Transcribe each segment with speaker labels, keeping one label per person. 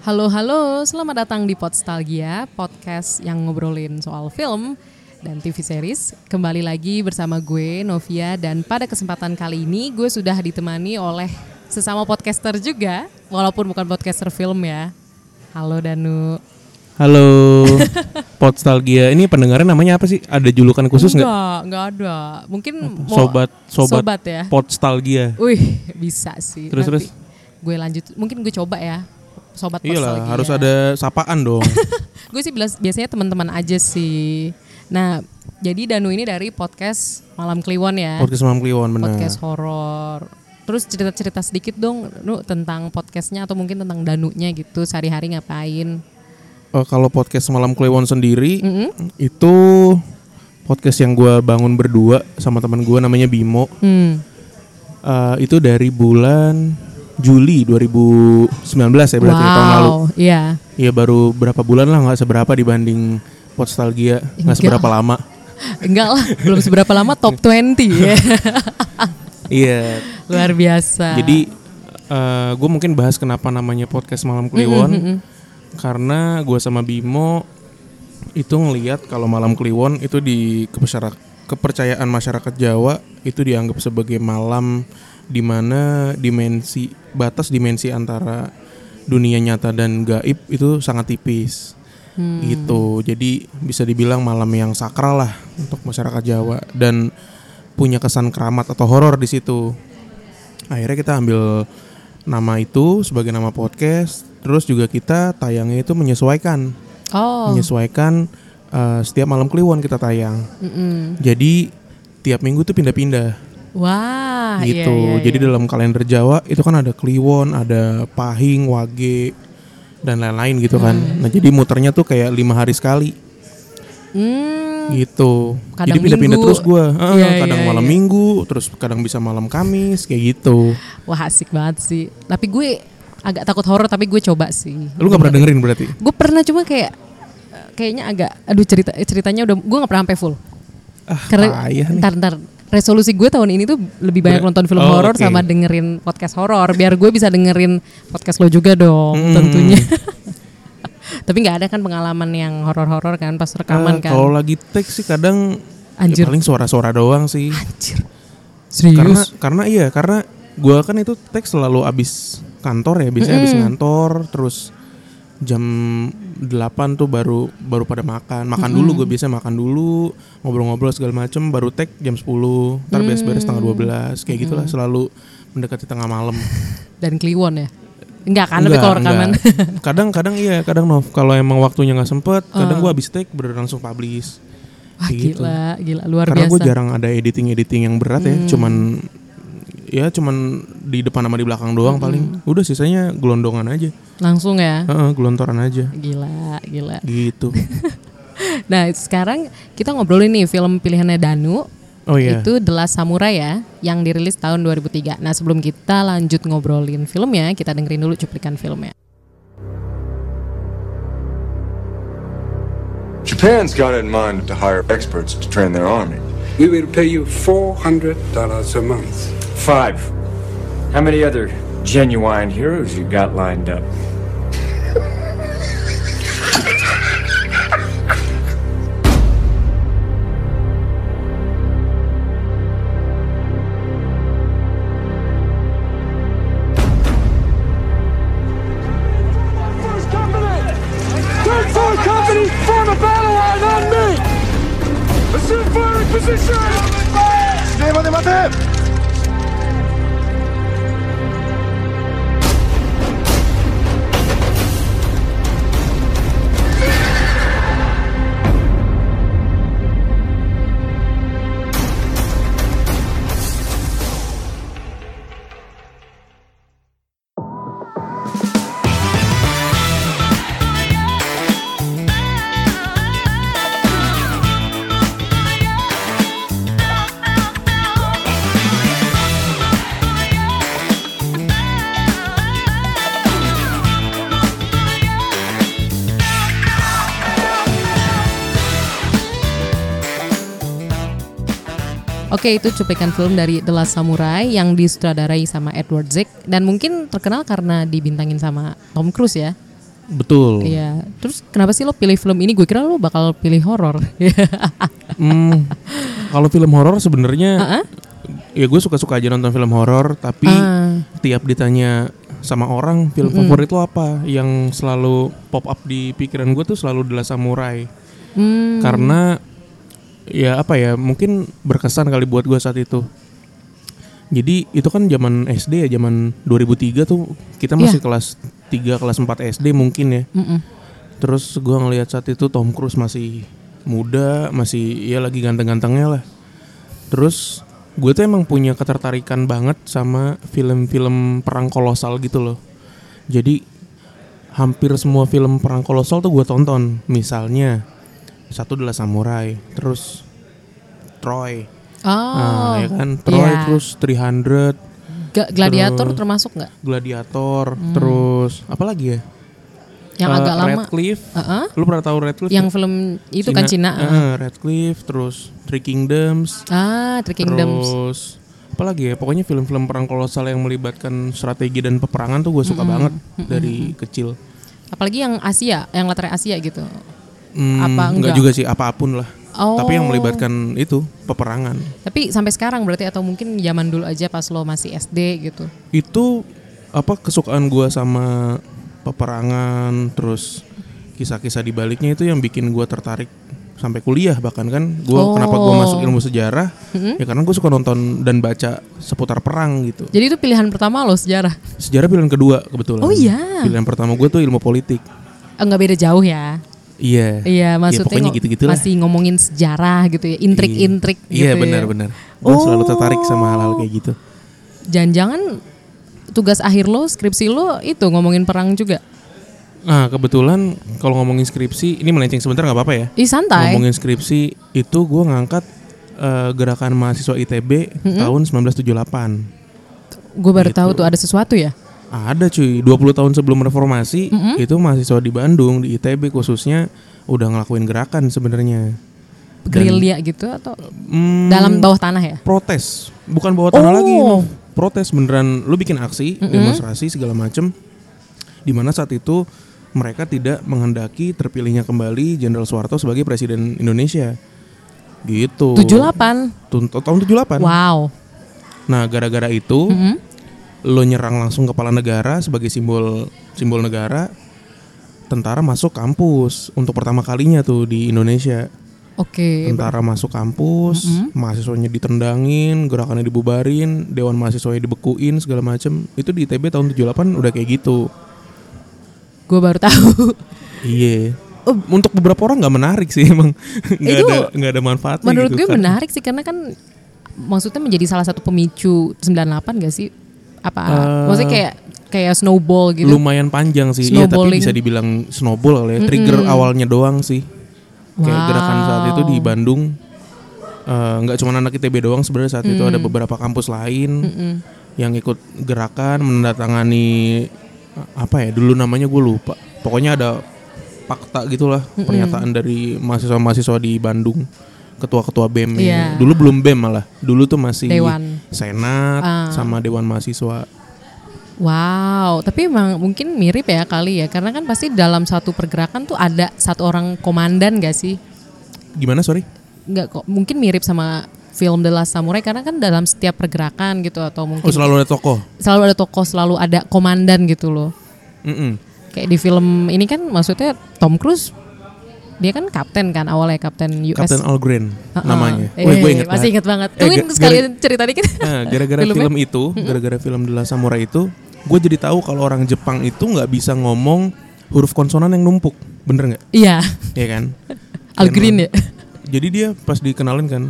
Speaker 1: Halo halo, selamat datang di Podstalgia, podcast yang ngobrolin soal film dan TV series. Kembali lagi bersama gue Novia dan pada kesempatan kali ini gue sudah ditemani oleh sesama podcaster juga, walaupun bukan podcaster film ya. Halo Danu.
Speaker 2: Halo, Podstalgia. Ini pendengarnya namanya apa sih? Ada julukan khusus nggak?
Speaker 1: Enggak, enggak ada. Mungkin mau-
Speaker 2: Sobat, sobat,
Speaker 1: sobat ya.
Speaker 2: Podstalgia.
Speaker 1: Wih, bisa sih. Nanti
Speaker 2: Terus, terus.
Speaker 1: Gue lanjut, mungkin gue coba ya. Sobat
Speaker 2: Iyalah,
Speaker 1: Podstalgia.
Speaker 2: harus ada sapaan dong.
Speaker 1: Eh. Gue sih bilas- biasanya teman-teman aja sih. Nah, jadi Danu ini dari podcast Malam Kliwon ya.
Speaker 2: podcast Mam Kliwon Oh, benar.
Speaker 1: Podcast horor. Terus cerita-cerita sedikit dong Nu tentang podcastnya atau mungkin tentang Danunya gitu sehari-hari ngapain.
Speaker 2: Eh, kalau podcast Malam Kliwon sendiri
Speaker 1: Mm-mm.
Speaker 2: itu podcast yang gua bangun berdua sama teman gua namanya Bimo.
Speaker 1: Hmm.
Speaker 2: Eh, itu dari bulan Juli 2019 ya berarti ya, tahun lalu.
Speaker 1: Wow, iya.
Speaker 2: Iya baru berapa bulan lah nggak seberapa dibanding Podstalgia nggak seberapa lama.
Speaker 1: Enggak lah, belum seberapa lama top 20 ya.
Speaker 2: Iya,
Speaker 1: Luar biasa.
Speaker 2: Jadi gue mungkin bahas kenapa namanya podcast Malam Kliwon karena gue sama Bimo itu ngelihat kalau Malam Kliwon itu di kepesyara- kepercayaan masyarakat Jawa itu dianggap sebagai malam di mana dimensi batas dimensi antara dunia nyata dan gaib itu sangat tipis.
Speaker 1: Hmm.
Speaker 2: Gitu. Jadi bisa dibilang malam yang sakral lah untuk masyarakat Jawa dan punya kesan keramat atau horor di situ akhirnya kita ambil nama itu sebagai nama podcast terus juga kita tayangnya itu menyesuaikan
Speaker 1: oh.
Speaker 2: menyesuaikan eh, setiap malam Kliwon kita tayang
Speaker 1: mm-mm.
Speaker 2: jadi tiap minggu tuh pindah-pindah
Speaker 1: Wah, iya,
Speaker 2: gitu
Speaker 1: iya,
Speaker 2: jadi
Speaker 1: iya.
Speaker 2: dalam kalender Jawa itu kan ada Kliwon ada Pahing Wage dan lain-lain gitu kan
Speaker 1: Mm.
Speaker 2: nah jadi muternya tuh kayak lima hari sekali
Speaker 1: Hmm,
Speaker 2: gitu
Speaker 1: Kadang
Speaker 2: jadi pindah-pindah
Speaker 1: minggu.
Speaker 2: terus gua Eh,
Speaker 1: Iya,
Speaker 2: kadang
Speaker 1: iya,
Speaker 2: malam
Speaker 1: iya.
Speaker 2: minggu terus kadang bisa malam Kamis kayak gitu
Speaker 1: Wah asik banget sih. Tapi gue agak takut horor tapi gue coba sih.
Speaker 2: lu nggak pernah dengerin berarti
Speaker 1: Gue pernah cuma kayak eh, kayaknya agak aduh cerita ceritanya udah gue nggak pernah sampai full.
Speaker 2: ah
Speaker 1: Karena
Speaker 2: payah nih
Speaker 1: ntar ntar resolusi gue tahun ini tuh lebih banyak nonton film
Speaker 2: oh,
Speaker 1: horor
Speaker 2: oke.
Speaker 1: sama dengerin podcast horor biar gue bisa dengerin podcast lo juga dong tentunya. tapi nggak ada kan pengalaman yang horor-horor kan pas rekaman
Speaker 2: Ah,
Speaker 1: kan.
Speaker 2: Kalau lagi teks sih kadang ya
Speaker 1: Anjir.
Speaker 2: paling suara-suara doang sih.
Speaker 1: Anjir. Serius.
Speaker 2: Karena karena iya karena gua kan itu teks selalu abis kantor ya, biasanya abis ngantor terus jam 8 tuh baru baru pada makan. Makan dulu gue biasa makan dulu, ngobrol-ngobrol segala macem baru tag jam 10, ntar
Speaker 1: Mm.
Speaker 2: beres-beres setengah 12 kayak gitulah selalu mendekati tengah malam.
Speaker 1: Dan Kliwon ya. Enggak kan tapi kalau
Speaker 2: Enggak,
Speaker 1: rekaman.
Speaker 2: enggak. Kadang-kadang iya, kadang Nov, kalau emang waktunya nggak sempet, kadang
Speaker 1: Oh.
Speaker 2: gua abis tag bener langsung publish.
Speaker 1: Wah
Speaker 2: Kayak gitu.
Speaker 1: gila, gila luar
Speaker 2: Karena
Speaker 1: biasa.
Speaker 2: gue jarang ada editing-editing yang berat
Speaker 1: Hmm.
Speaker 2: ya, cuman ya cuman di depan sama di belakang doang
Speaker 1: Hmm.
Speaker 2: paling. Udah sisanya gelondongan aja,
Speaker 1: Langsung ya.
Speaker 2: Heeh, gelontoran aja,
Speaker 1: Gila, gila.
Speaker 2: gitu.
Speaker 1: Nah, sekarang kita ngobrolin nih film pilihannya Danu.
Speaker 2: Oh iya.
Speaker 1: Itu The Last Samurai ya, yang dirilis tahun 2003. Nah, sebelum kita lanjut ngobrolin filmnya, kita dengerin dulu cuplikan filmnya.
Speaker 3: Japan's got it in mind to hire experts to train their army.
Speaker 4: We will pay you $400 a month.
Speaker 5: Five. How many other genuine heroes you got lined up?
Speaker 6: First Company! Third Fourth Company, form a battle line on me! Assume firing position! Stay on
Speaker 1: Oke, itu cuplikan film dari The Last Samurai yang
Speaker 2: Hmm.
Speaker 1: disutradarai sama Edward Zwick dan mungkin terkenal karena dibintangin sama Tom Cruise ya.
Speaker 2: Betul.
Speaker 1: Iya. Terus kenapa sih lo pilih film ini? Gue kira lo bakal pilih horor.
Speaker 2: Hmm, kalau film horor sebenarnya ya gue suka-suka aja nonton film horor, tapi
Speaker 1: Ah.
Speaker 2: tiap ditanya sama orang film favorit lo apa, yang selalu pop up di pikiran gue tuh selalu adalah samurai.
Speaker 1: Hmm,
Speaker 2: Karena ya apa ya, mungkin berkesan kali buat gue saat itu. Jadi itu kan zaman SD ya, zaman 2003 tuh kita
Speaker 1: Iya.
Speaker 2: masih kelas 3 kelas 4 SD mungkin ya.
Speaker 1: mm-mm.
Speaker 2: Terus gua ngelihat saat itu Tom Cruise masih muda, masih ya lagi ganteng-gantengnya lah. Terus gue tuh emang punya ketertarikan banget sama film-film perang kolosal gitu loh. Jadi hampir semua film perang kolosal tuh gue tonton. Misalnya satu adalah Samurai, terus Troy,
Speaker 1: Oh.
Speaker 2: nah, ya kan Troy,
Speaker 1: iya.
Speaker 2: terus 300,
Speaker 1: Ga- gladiator
Speaker 2: terus-
Speaker 1: termasuk nggak?
Speaker 2: Gladiator, terus apa lagi ya?
Speaker 1: Hmm. Yang
Speaker 2: Eh,
Speaker 1: agak lama.
Speaker 2: Redcliffe.
Speaker 1: Heeh.
Speaker 2: Lu pernah tahu Redcliffe?
Speaker 1: Yang film itu kan Cina.
Speaker 2: eh, Redcliffe, terus Three Kingdoms,
Speaker 1: Ah, Three Kingdoms.
Speaker 2: terus apa lagi ya? Pokoknya film-film perang kolosal yang melibatkan strategi dan peperangan tuh gue suka banget dari kecil.
Speaker 1: Apalagi yang Asia, yang latarnya Asia gitu.
Speaker 2: Hmm,
Speaker 1: Apa enggak?
Speaker 2: juga sih, apapun lah.
Speaker 1: Oh.
Speaker 2: Tapi yang melibatkan itu peperangan.
Speaker 1: Tapi sampai sekarang berarti atau mungkin zaman dulu aja pas lo masih SD gitu.
Speaker 2: Itu apa kesukaan gue sama peperangan, terus kisah-kisah di baliknya itu yang bikin gue tertarik sampai kuliah bahkan kan gue
Speaker 1: Oh.
Speaker 2: kenapa gue masuk ilmu sejarah ya karena gue suka nonton dan baca seputar perang gitu
Speaker 1: Jadi itu pilihan pertama lo sejarah.
Speaker 2: Sejarah pilihan kedua kebetulan.
Speaker 1: Oh, iya.
Speaker 2: Pilihan pertama gue tuh ilmu politik.
Speaker 1: Enggak Eh, beda jauh ya.
Speaker 2: Iya.
Speaker 1: Iya,
Speaker 2: Ya,
Speaker 1: maksudnya
Speaker 2: pokoknya
Speaker 1: ngo-
Speaker 2: gitu-gitu lah.
Speaker 1: masih ngomongin sejarah gitu ya, intrik-intrik gitu.
Speaker 2: Iya
Speaker 1: ya.
Speaker 2: benar-benar. Gue selalu tertarik sama hal-hal kayak gitu.
Speaker 1: Jangan-jangan tugas akhir lo, skripsi lo itu ngomongin perang juga.
Speaker 2: Nah kebetulan kalau ngomongin skripsi, ini melenceng sebentar nggak apa-apa ya.
Speaker 1: Ih santai.
Speaker 2: Ngomongin skripsi itu gue ngangkat eh, gerakan mahasiswa ITB tahun 1978.
Speaker 1: Gue baru
Speaker 2: Gitu.
Speaker 1: tahu tuh ada sesuatu ya.
Speaker 2: Ada cuy, 20 tahun sebelum reformasi itu mahasiswa di Bandung di ITB khususnya udah ngelakuin gerakan sebenarnya.
Speaker 1: Gerilya gitu atau
Speaker 2: Hmm,
Speaker 1: dalam bawah tanah ya?
Speaker 2: protes bukan bawa tanah
Speaker 1: Oh.
Speaker 2: lagi Nov. protes beneran lu bikin aksi demonstrasi segala macem dimana saat itu mereka tidak menghendaki terpilihnya kembali Jenderal Soeharto sebagai presiden Indonesia gitu
Speaker 1: 78.
Speaker 2: Tun- tahun 78
Speaker 1: Wow.
Speaker 2: nah gara-gara itu lo nyerang langsung kepala negara sebagai simbol simbol negara tentara masuk kampus untuk pertama kalinya tuh di Indonesia
Speaker 1: Oke.
Speaker 2: tentara masuk kampus,
Speaker 1: Mm-hmm.
Speaker 2: mahasiswanya ditendangin, gerakannya dibubarin, dewan mahasiswanya dibekuin segala macem. Itu di ITB tahun 78 udah kayak gitu.
Speaker 1: Gue baru tahu.
Speaker 2: Iya. Untuk beberapa orang nggak menarik sih emang nggak
Speaker 1: Oh. Itu
Speaker 2: ada nggak ada manfaatnya.
Speaker 1: Menurut
Speaker 2: gitu,
Speaker 1: gue
Speaker 2: kan.
Speaker 1: menarik sih karena kan maksudnya menjadi salah satu pemicu 98 gak sih? Apa
Speaker 2: Eh,
Speaker 1: maksudnya kayak kayak snowball gitu.
Speaker 2: Lumayan panjang sih, iya tapi
Speaker 1: Snowballing.
Speaker 2: bisa dibilang snowball kali ya. Trigger awalnya doang sih. Kayak
Speaker 1: Wow.
Speaker 2: gerakan saat itu di Bandung eh, nggak cuma anak ITB doang sebenarnya saat
Speaker 1: Mm.
Speaker 2: itu ada beberapa kampus lain yang ikut gerakan mendatangani apa ya dulu namanya gue lupa. Pokoknya ada fakta gitulah pernyataan dari mahasiswa-mahasiswa di Bandung ketua-ketua BEM -nya.
Speaker 1: Iya.
Speaker 2: dulu belum BEM malah dulu tuh masih
Speaker 1: Dewan.
Speaker 2: senat
Speaker 1: Ah.
Speaker 2: sama dewan mahasiswa
Speaker 1: Wow, tapi emang mungkin mirip ya kali ya, karena kan pasti dalam satu pergerakan tuh ada satu orang komandan gak sih?
Speaker 2: gimana sorry
Speaker 1: Nggak kok, mungkin mirip sama film The Last Samurai karena kan dalam setiap pergerakan gitu atau mungkin
Speaker 2: Oh selalu ada tokoh.
Speaker 1: selalu ada tokoh, selalu ada komandan gitu loh.
Speaker 2: Mm-mm.
Speaker 1: Kayak di film ini kan maksudnya Tom Cruise dia kan kapten kan awalnya kapten US.
Speaker 2: Captain All Green
Speaker 1: Heeh.
Speaker 2: namanya.
Speaker 1: Eh,
Speaker 2: Wih, gua inget
Speaker 1: masih
Speaker 2: banget.
Speaker 1: inget banget.
Speaker 2: Eh,
Speaker 1: Mungkin
Speaker 2: ga-
Speaker 1: sekali
Speaker 2: gara-
Speaker 1: cerita dikit.
Speaker 2: Nah, gara-gara
Speaker 1: Filmnya.
Speaker 2: film itu, gara-gara film The Last Samurai itu, gue jadi tahu kalau orang Jepang itu nggak bisa ngomong huruf konsonan yang numpuk, bener nggak?
Speaker 1: Iya,
Speaker 2: Iya kan?
Speaker 1: All
Speaker 2: Keren
Speaker 1: Green ya.
Speaker 2: banget. Jadi dia pas dikenalin kan,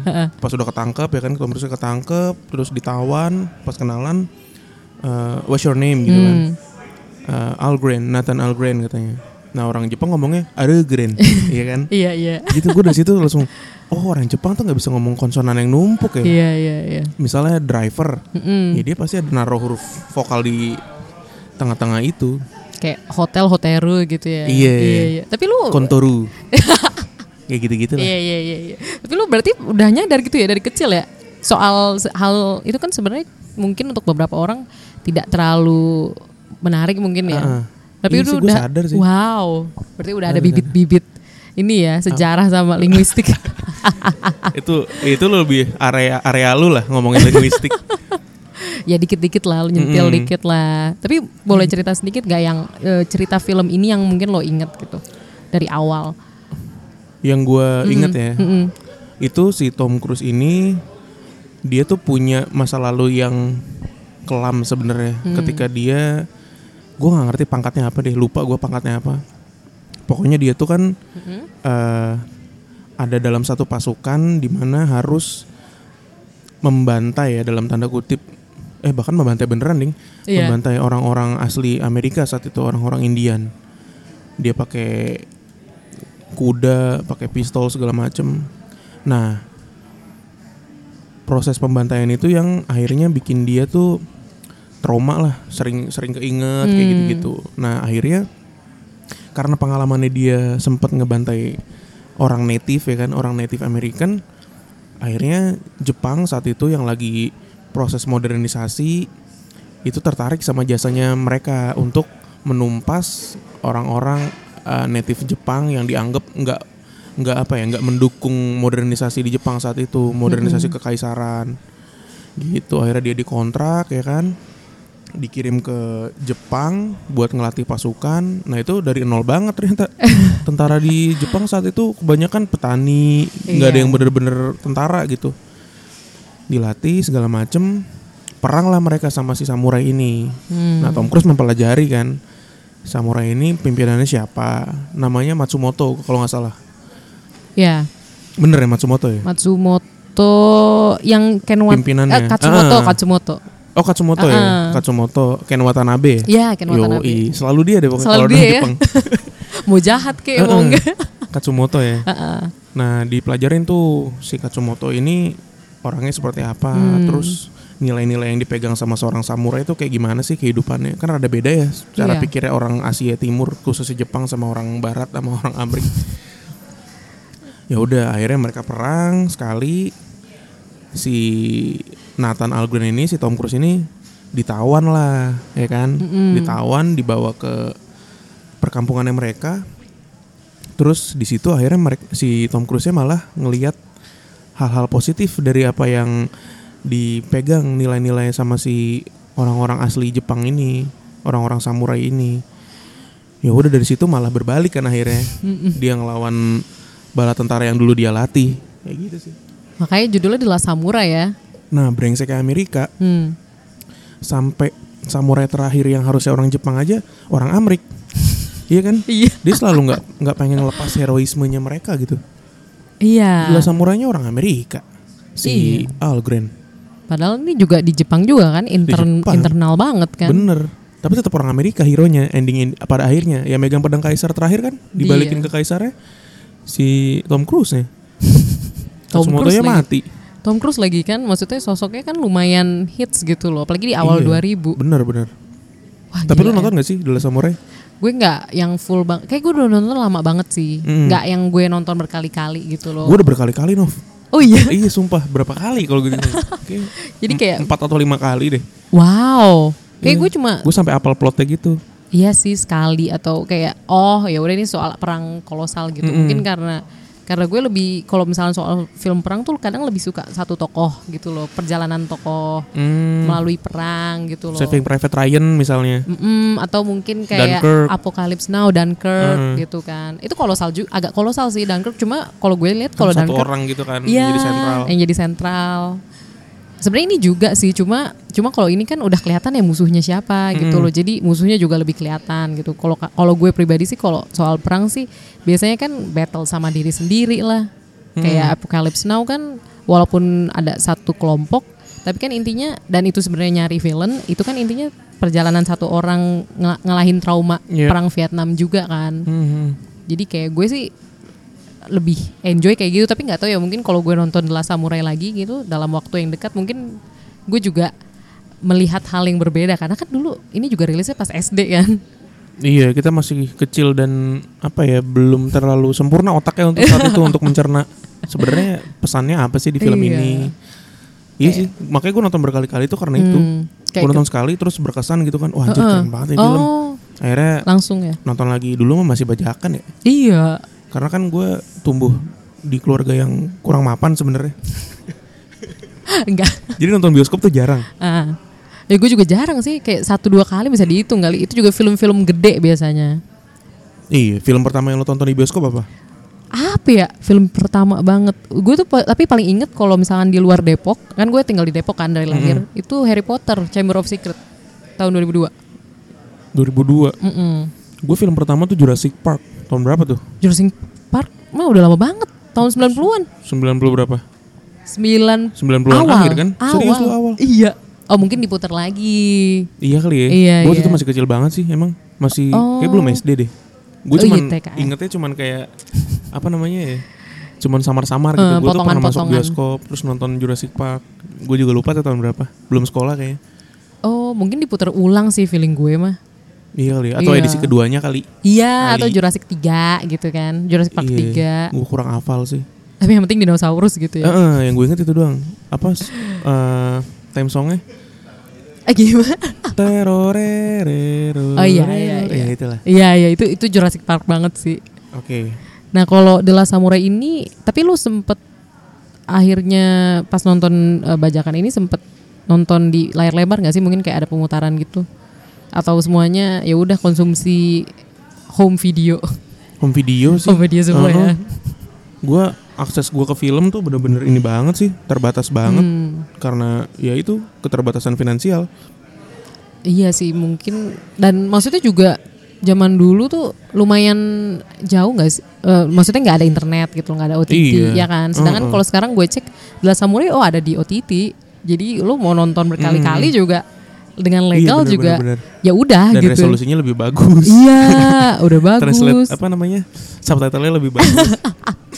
Speaker 2: pas udah ketangkep ya kan, Tom Cruise ketangkep, terus ditawan, pas kenalan, eh, what's your name gitu
Speaker 1: Hmm.
Speaker 2: kan? Eh, Algren, Nathan Algren katanya. Nah orang Jepang ngomongnya Algren, iya kan?
Speaker 1: Iya, iya.
Speaker 2: gitu gue dari situ langsung oh orang Jepang tuh nggak bisa ngomong konsonan yang numpuk ya
Speaker 1: Iya, iya, iya.
Speaker 2: misalnya driver ya dia pasti ada naruh huruf vokal di tengah-tengah itu
Speaker 1: kayak hotel hoteru gitu ya.
Speaker 2: Iya.
Speaker 1: Tapi lu
Speaker 2: kontoru kayak gitu-gitu lah
Speaker 1: Oh. Iya iya iya iya. Tapi lu berarti udah nyadar gitu ya dari kecil ya soal se- hal itu kan sebenarnya mungkin untuk beberapa orang tidak terlalu menarik mungkin ya.
Speaker 2: Heeh.
Speaker 1: Tapi
Speaker 2: Iya
Speaker 1: itu
Speaker 2: sih, gua
Speaker 1: udah
Speaker 2: sadar sih.
Speaker 1: wow. Berarti udah ada
Speaker 2: Sadar, sadar.
Speaker 1: bibit-bibit ini ya sejarah sama linguistik. Ah.
Speaker 2: itu itu lu lebih area area lu lah ngomongin linguistik.
Speaker 1: ya dikit-dikit lah, lu nyentil
Speaker 2: Mm-mm.
Speaker 1: dikit lah. Tapi boleh cerita sedikit gak yang eh, cerita film ini yang mungkin lo inget gitu dari awal.
Speaker 2: yang gua inget ya itu si Tom Cruise ini dia tuh punya masa lalu yang kelam sebenarnya
Speaker 1: Mm.
Speaker 2: ketika dia gua nggak ngerti pangkatnya apa deh lupa gua pangkatnya apa pokoknya dia tuh kan eh, ada dalam satu pasukan di mana harus membantai ya dalam tanda kutip eh bahkan membantai beneran ding
Speaker 1: Iya.
Speaker 2: membantai orang-orang asli Amerika saat itu orang-orang Indian dia pakai kuda, pakai pistol segala macem. Nah, proses pembantaian itu yang akhirnya bikin dia tuh trauma lah, sering-sering keinget kayak gitu-gitu. Nah, akhirnya karena pengalamannya dia sempat ngebantai orang native ya kan, orang native American, akhirnya Jepang saat itu yang lagi proses modernisasi itu tertarik sama jasanya mereka untuk menumpas orang-orang uh, native Jepang yang dianggap nggak nggak apa ya nggak mendukung modernisasi di Jepang saat itu modernisasi kekaisaran gitu akhirnya dia dikontrak ya kan dikirim ke Jepang buat ngelatih pasukan nah itu dari nol banget ternyata tentara di Jepang saat itu kebanyakan petani nggak ada
Speaker 1: Iya.
Speaker 2: yang bener-bener tentara gitu dilatih segala macem perang lah mereka sama si samurai ini nah Tom Cruise mempelajari kan samurai ini pimpinannya siapa namanya Matsumoto kalau nggak salah
Speaker 1: Ya,
Speaker 2: bener ya Matsumoto ya
Speaker 1: Matsumoto yang Ken Wat- eh,
Speaker 2: Pimpinannya.
Speaker 1: Katsumoto,
Speaker 2: Ah.
Speaker 1: Katsumoto.
Speaker 2: oh Katsumoto ya
Speaker 1: Ah.
Speaker 2: Katsumoto Ken Watanabe
Speaker 1: Iya, Ken Watanabe.
Speaker 2: Yoi. selalu dia deh pokoknya
Speaker 1: Selalu
Speaker 2: kalau
Speaker 1: dia
Speaker 2: orang
Speaker 1: ya.
Speaker 2: Jepang
Speaker 1: mau jahat kayak mau
Speaker 2: Heeh.
Speaker 1: enggak.
Speaker 2: Katsumoto ya.
Speaker 1: Uh-uh.
Speaker 2: Nah, dipelajarin tuh si Katsumoto ini orangnya seperti apa,
Speaker 1: Hmm.
Speaker 2: terus nilai-nilai yang dipegang sama seorang samurai itu kayak gimana sih kehidupannya? Kan ada beda ya cara
Speaker 1: Iya.
Speaker 2: pikirnya orang Asia Timur khususnya Jepang sama orang barat sama orang Amerika. ya udah, akhirnya mereka perang sekali si Nathan Algren ini si Tom Cruise ini ditawan lah, ya kan? Ditawan dibawa ke perkampungannya mereka terus di situ akhirnya mereka si Tom Cruise-nya malah ngelihat hal-hal positif dari apa yang dipegang nilai-nilai sama si orang-orang asli Jepang ini, orang-orang samurai ini. Ya udah dari situ malah berbalik kan akhirnya. Dia ngelawan bala tentara yang dulu dia latih. Kayak gitu sih.
Speaker 1: Makanya judulnya adalah Samurai ya.
Speaker 2: Nah, brengseknya Amerika
Speaker 1: Hmm.
Speaker 2: sampai samurai terakhir yang harusnya orang Jepang aja orang Amerik iya kan
Speaker 1: Iya.
Speaker 2: dia selalu nggak nggak pengen lepas heroismenya mereka gitu
Speaker 1: Iya.
Speaker 2: Gila samurainya orang Amerika si Algren
Speaker 1: Padahal ini juga di Jepang juga kan intern
Speaker 2: Jepang.
Speaker 1: internal banget kan.
Speaker 2: bener tapi tetap orang Amerika hero-nya ending end- pada akhirnya ya megang pedang kaisar terakhir kan dibalikin
Speaker 1: Iya.
Speaker 2: ke kaisarnya si Tom Cruise nih
Speaker 1: Tom Cruise
Speaker 2: Katsumoto-nya
Speaker 1: lagi.
Speaker 2: mati
Speaker 1: Tom Cruise lagi kan maksudnya sosoknya kan lumayan hits gitu loh, apalagi di awal
Speaker 2: Iya.
Speaker 1: 2000.
Speaker 2: bener bener
Speaker 1: Wah,
Speaker 2: tapi
Speaker 1: gila
Speaker 2: lu
Speaker 1: ya.
Speaker 2: nonton gak sih Dela Samurai
Speaker 1: Gue nggak yang full bang. Kayak gue udah nonton lama banget sih. Nggak yang gue nonton berkali-kali gitu loh.
Speaker 2: gue udah berkali-kali Nov
Speaker 1: oh iya.
Speaker 2: iya sumpah berapa kali kalau gitu Oke.
Speaker 1: Jadi kayak
Speaker 2: empat atau lima kali deh
Speaker 1: wow. Kayak
Speaker 2: Iya.
Speaker 1: gue cuma
Speaker 2: gue sampai apal plotnya gitu
Speaker 1: iya sih sekali atau kayak oh ya udah ini soal perang kolosal gitu mungkin karena karena gue lebih kalau misalnya soal film perang tuh kadang lebih suka satu tokoh gitu loh perjalanan tokoh
Speaker 2: Mm.
Speaker 1: melalui perang gitu loh
Speaker 2: Saving Private Ryan misalnya
Speaker 1: Mm-mm, atau mungkin kayak
Speaker 2: Dunkirk.
Speaker 1: Apocalypse Now Dunkirk gitu kan itu kolosal juga agak kolosal sih Dunkirk cuma kalau gue lihat kalau
Speaker 2: satu
Speaker 1: Dunkirk
Speaker 2: orang gitu kan
Speaker 1: Iya,
Speaker 2: jadi sentral
Speaker 1: yang jadi sentral. Sebenarnya ini juga sih, cuma cuma kalau ini kan udah kelihatan ya musuhnya siapa gitu loh. Jadi musuhnya juga lebih kelihatan gitu. Kalau kalau gue pribadi sih kalau soal perang sih biasanya kan battle sama diri sendiri lah. Kayak Apocalypse Now kan walaupun ada satu kelompok, tapi kan intinya dan itu sebenarnya nyari villain, itu kan intinya perjalanan satu orang ngel- ngelahin trauma
Speaker 2: Iya.
Speaker 1: perang Vietnam juga kan.
Speaker 2: Mhm.
Speaker 1: Jadi kayak gue sih lebih enjoy kayak gitu tapi nggak tahu ya mungkin kalau gue nonton The Last Samurai lagi gitu dalam waktu yang dekat mungkin gue juga melihat hal yang berbeda karena kan dulu ini juga rilisnya pas SD kan.
Speaker 2: Iya, kita masih kecil dan apa ya, belum terlalu sempurna otaknya untuk saat itu untuk mencerna sebenarnya pesannya apa sih di film
Speaker 1: Iya.
Speaker 2: ini. Iya sih, makanya gue nonton berkali-kali Nah, itu karena itu.
Speaker 1: Hmm, kayak
Speaker 2: gitu Gue nonton sekali terus berkesan gitu kan, wah anjir keren banget ya film.
Speaker 1: Oh,
Speaker 2: Akhirnya
Speaker 1: langsung ya
Speaker 2: nonton lagi dulu mah masih bajakan ya.
Speaker 1: iya
Speaker 2: Karena kan gue tumbuh di keluarga yang kurang mapan sebenarnya.
Speaker 1: enggak
Speaker 2: Jadi nonton bioskop tuh jarang.
Speaker 1: ah ya gue juga jarang sih kayak satu dua kali bisa dihitung kali itu juga film-film gede biasanya
Speaker 2: Iya, film pertama yang lo tonton di bioskop apa?
Speaker 1: apa ya film pertama banget gue tuh pa- tapi paling inget kalau misalkan di luar Depok kan gue tinggal di Depok kan dari
Speaker 2: Mm-hmm.
Speaker 1: lahir itu Harry Potter Chamber of Secret tahun 2002
Speaker 2: 2002.
Speaker 1: Mm-mm.
Speaker 2: Gue film pertama tuh Jurassic Park. Tahun berapa tuh?
Speaker 1: Jurassic Park mah udah lama banget tahun 90-an
Speaker 2: 90 berapa?
Speaker 1: 9
Speaker 2: 90-an
Speaker 1: awal
Speaker 2: akhir kan?
Speaker 1: awal.
Speaker 2: Serius lu awal?
Speaker 1: iya oh mungkin diputar lagi
Speaker 2: Iya kali ya.
Speaker 1: Iya,
Speaker 2: Gue waktu
Speaker 1: iya.
Speaker 2: itu masih kecil banget sih, emang masih
Speaker 1: Oh.
Speaker 2: kayak belum SD deh. Gue
Speaker 1: Oh,
Speaker 2: cuman
Speaker 1: iya, TK.
Speaker 2: ingetnya cuman kayak apa namanya ya? Cuman samar-samar gitu.
Speaker 1: Eh,
Speaker 2: gue tuh pernah masuk
Speaker 1: potongan-potongan.
Speaker 2: bioskop, terus nonton Jurassic Park. Gue juga lupa tuh tahun berapa. Belum sekolah kayaknya.
Speaker 1: oh mungkin diputar ulang sih feeling gue mah
Speaker 2: Iya kali ya. Atau
Speaker 1: Iya.
Speaker 2: edisi keduanya kali.
Speaker 1: Iya,
Speaker 2: Kali.
Speaker 1: atau Jurassic 3 gitu kan. Jurassic
Speaker 2: Iya.
Speaker 1: Park 3.
Speaker 2: Gue kurang hafal sih.
Speaker 1: Tapi yang penting dinosaurus gitu
Speaker 2: Eh,
Speaker 1: ya.
Speaker 2: eh, yang gue inget itu doang. Apa? s- eh time songnya?
Speaker 1: Eh, gimana?
Speaker 2: Terorerero.
Speaker 1: Oh iya iya iya.
Speaker 2: Ya itulah.
Speaker 1: Iya iya itu itu Jurassic Park banget sih.
Speaker 2: Oke.
Speaker 1: Nah, kalau The Last Samurai ini tapi lu sempet akhirnya pas nonton eh, bajakan ini sempet nonton di layar lebar nggak sih mungkin kayak ada pemutaran gitu atau semuanya ya udah konsumsi home video
Speaker 2: Home video sih.
Speaker 1: Home video semua ya.
Speaker 2: Gue akses gue ke film tuh bener-bener ini banget sih, terbatas banget
Speaker 1: Hmm.
Speaker 2: karena ya itu keterbatasan finansial.
Speaker 1: Iya sih mungkin dan maksudnya juga zaman dulu tuh lumayan jauh nggak sih? Eh, maksudnya nggak ada internet gitu, nggak ada OTT ya
Speaker 2: Iya.
Speaker 1: kan. Sedangkan
Speaker 2: Heeh.
Speaker 1: kalau sekarang gue cek The Last Samurai oh ada di OTT. Jadi lu mau nonton berkali-kali juga dengan legal
Speaker 2: Iya, bener,
Speaker 1: juga
Speaker 2: bener, bener.
Speaker 1: ya udah
Speaker 2: Dan
Speaker 1: gitu.
Speaker 2: resolusinya lebih bagus.
Speaker 1: Iya, udah bagus.
Speaker 2: Translate apa namanya? Subtitlenya lebih bagus.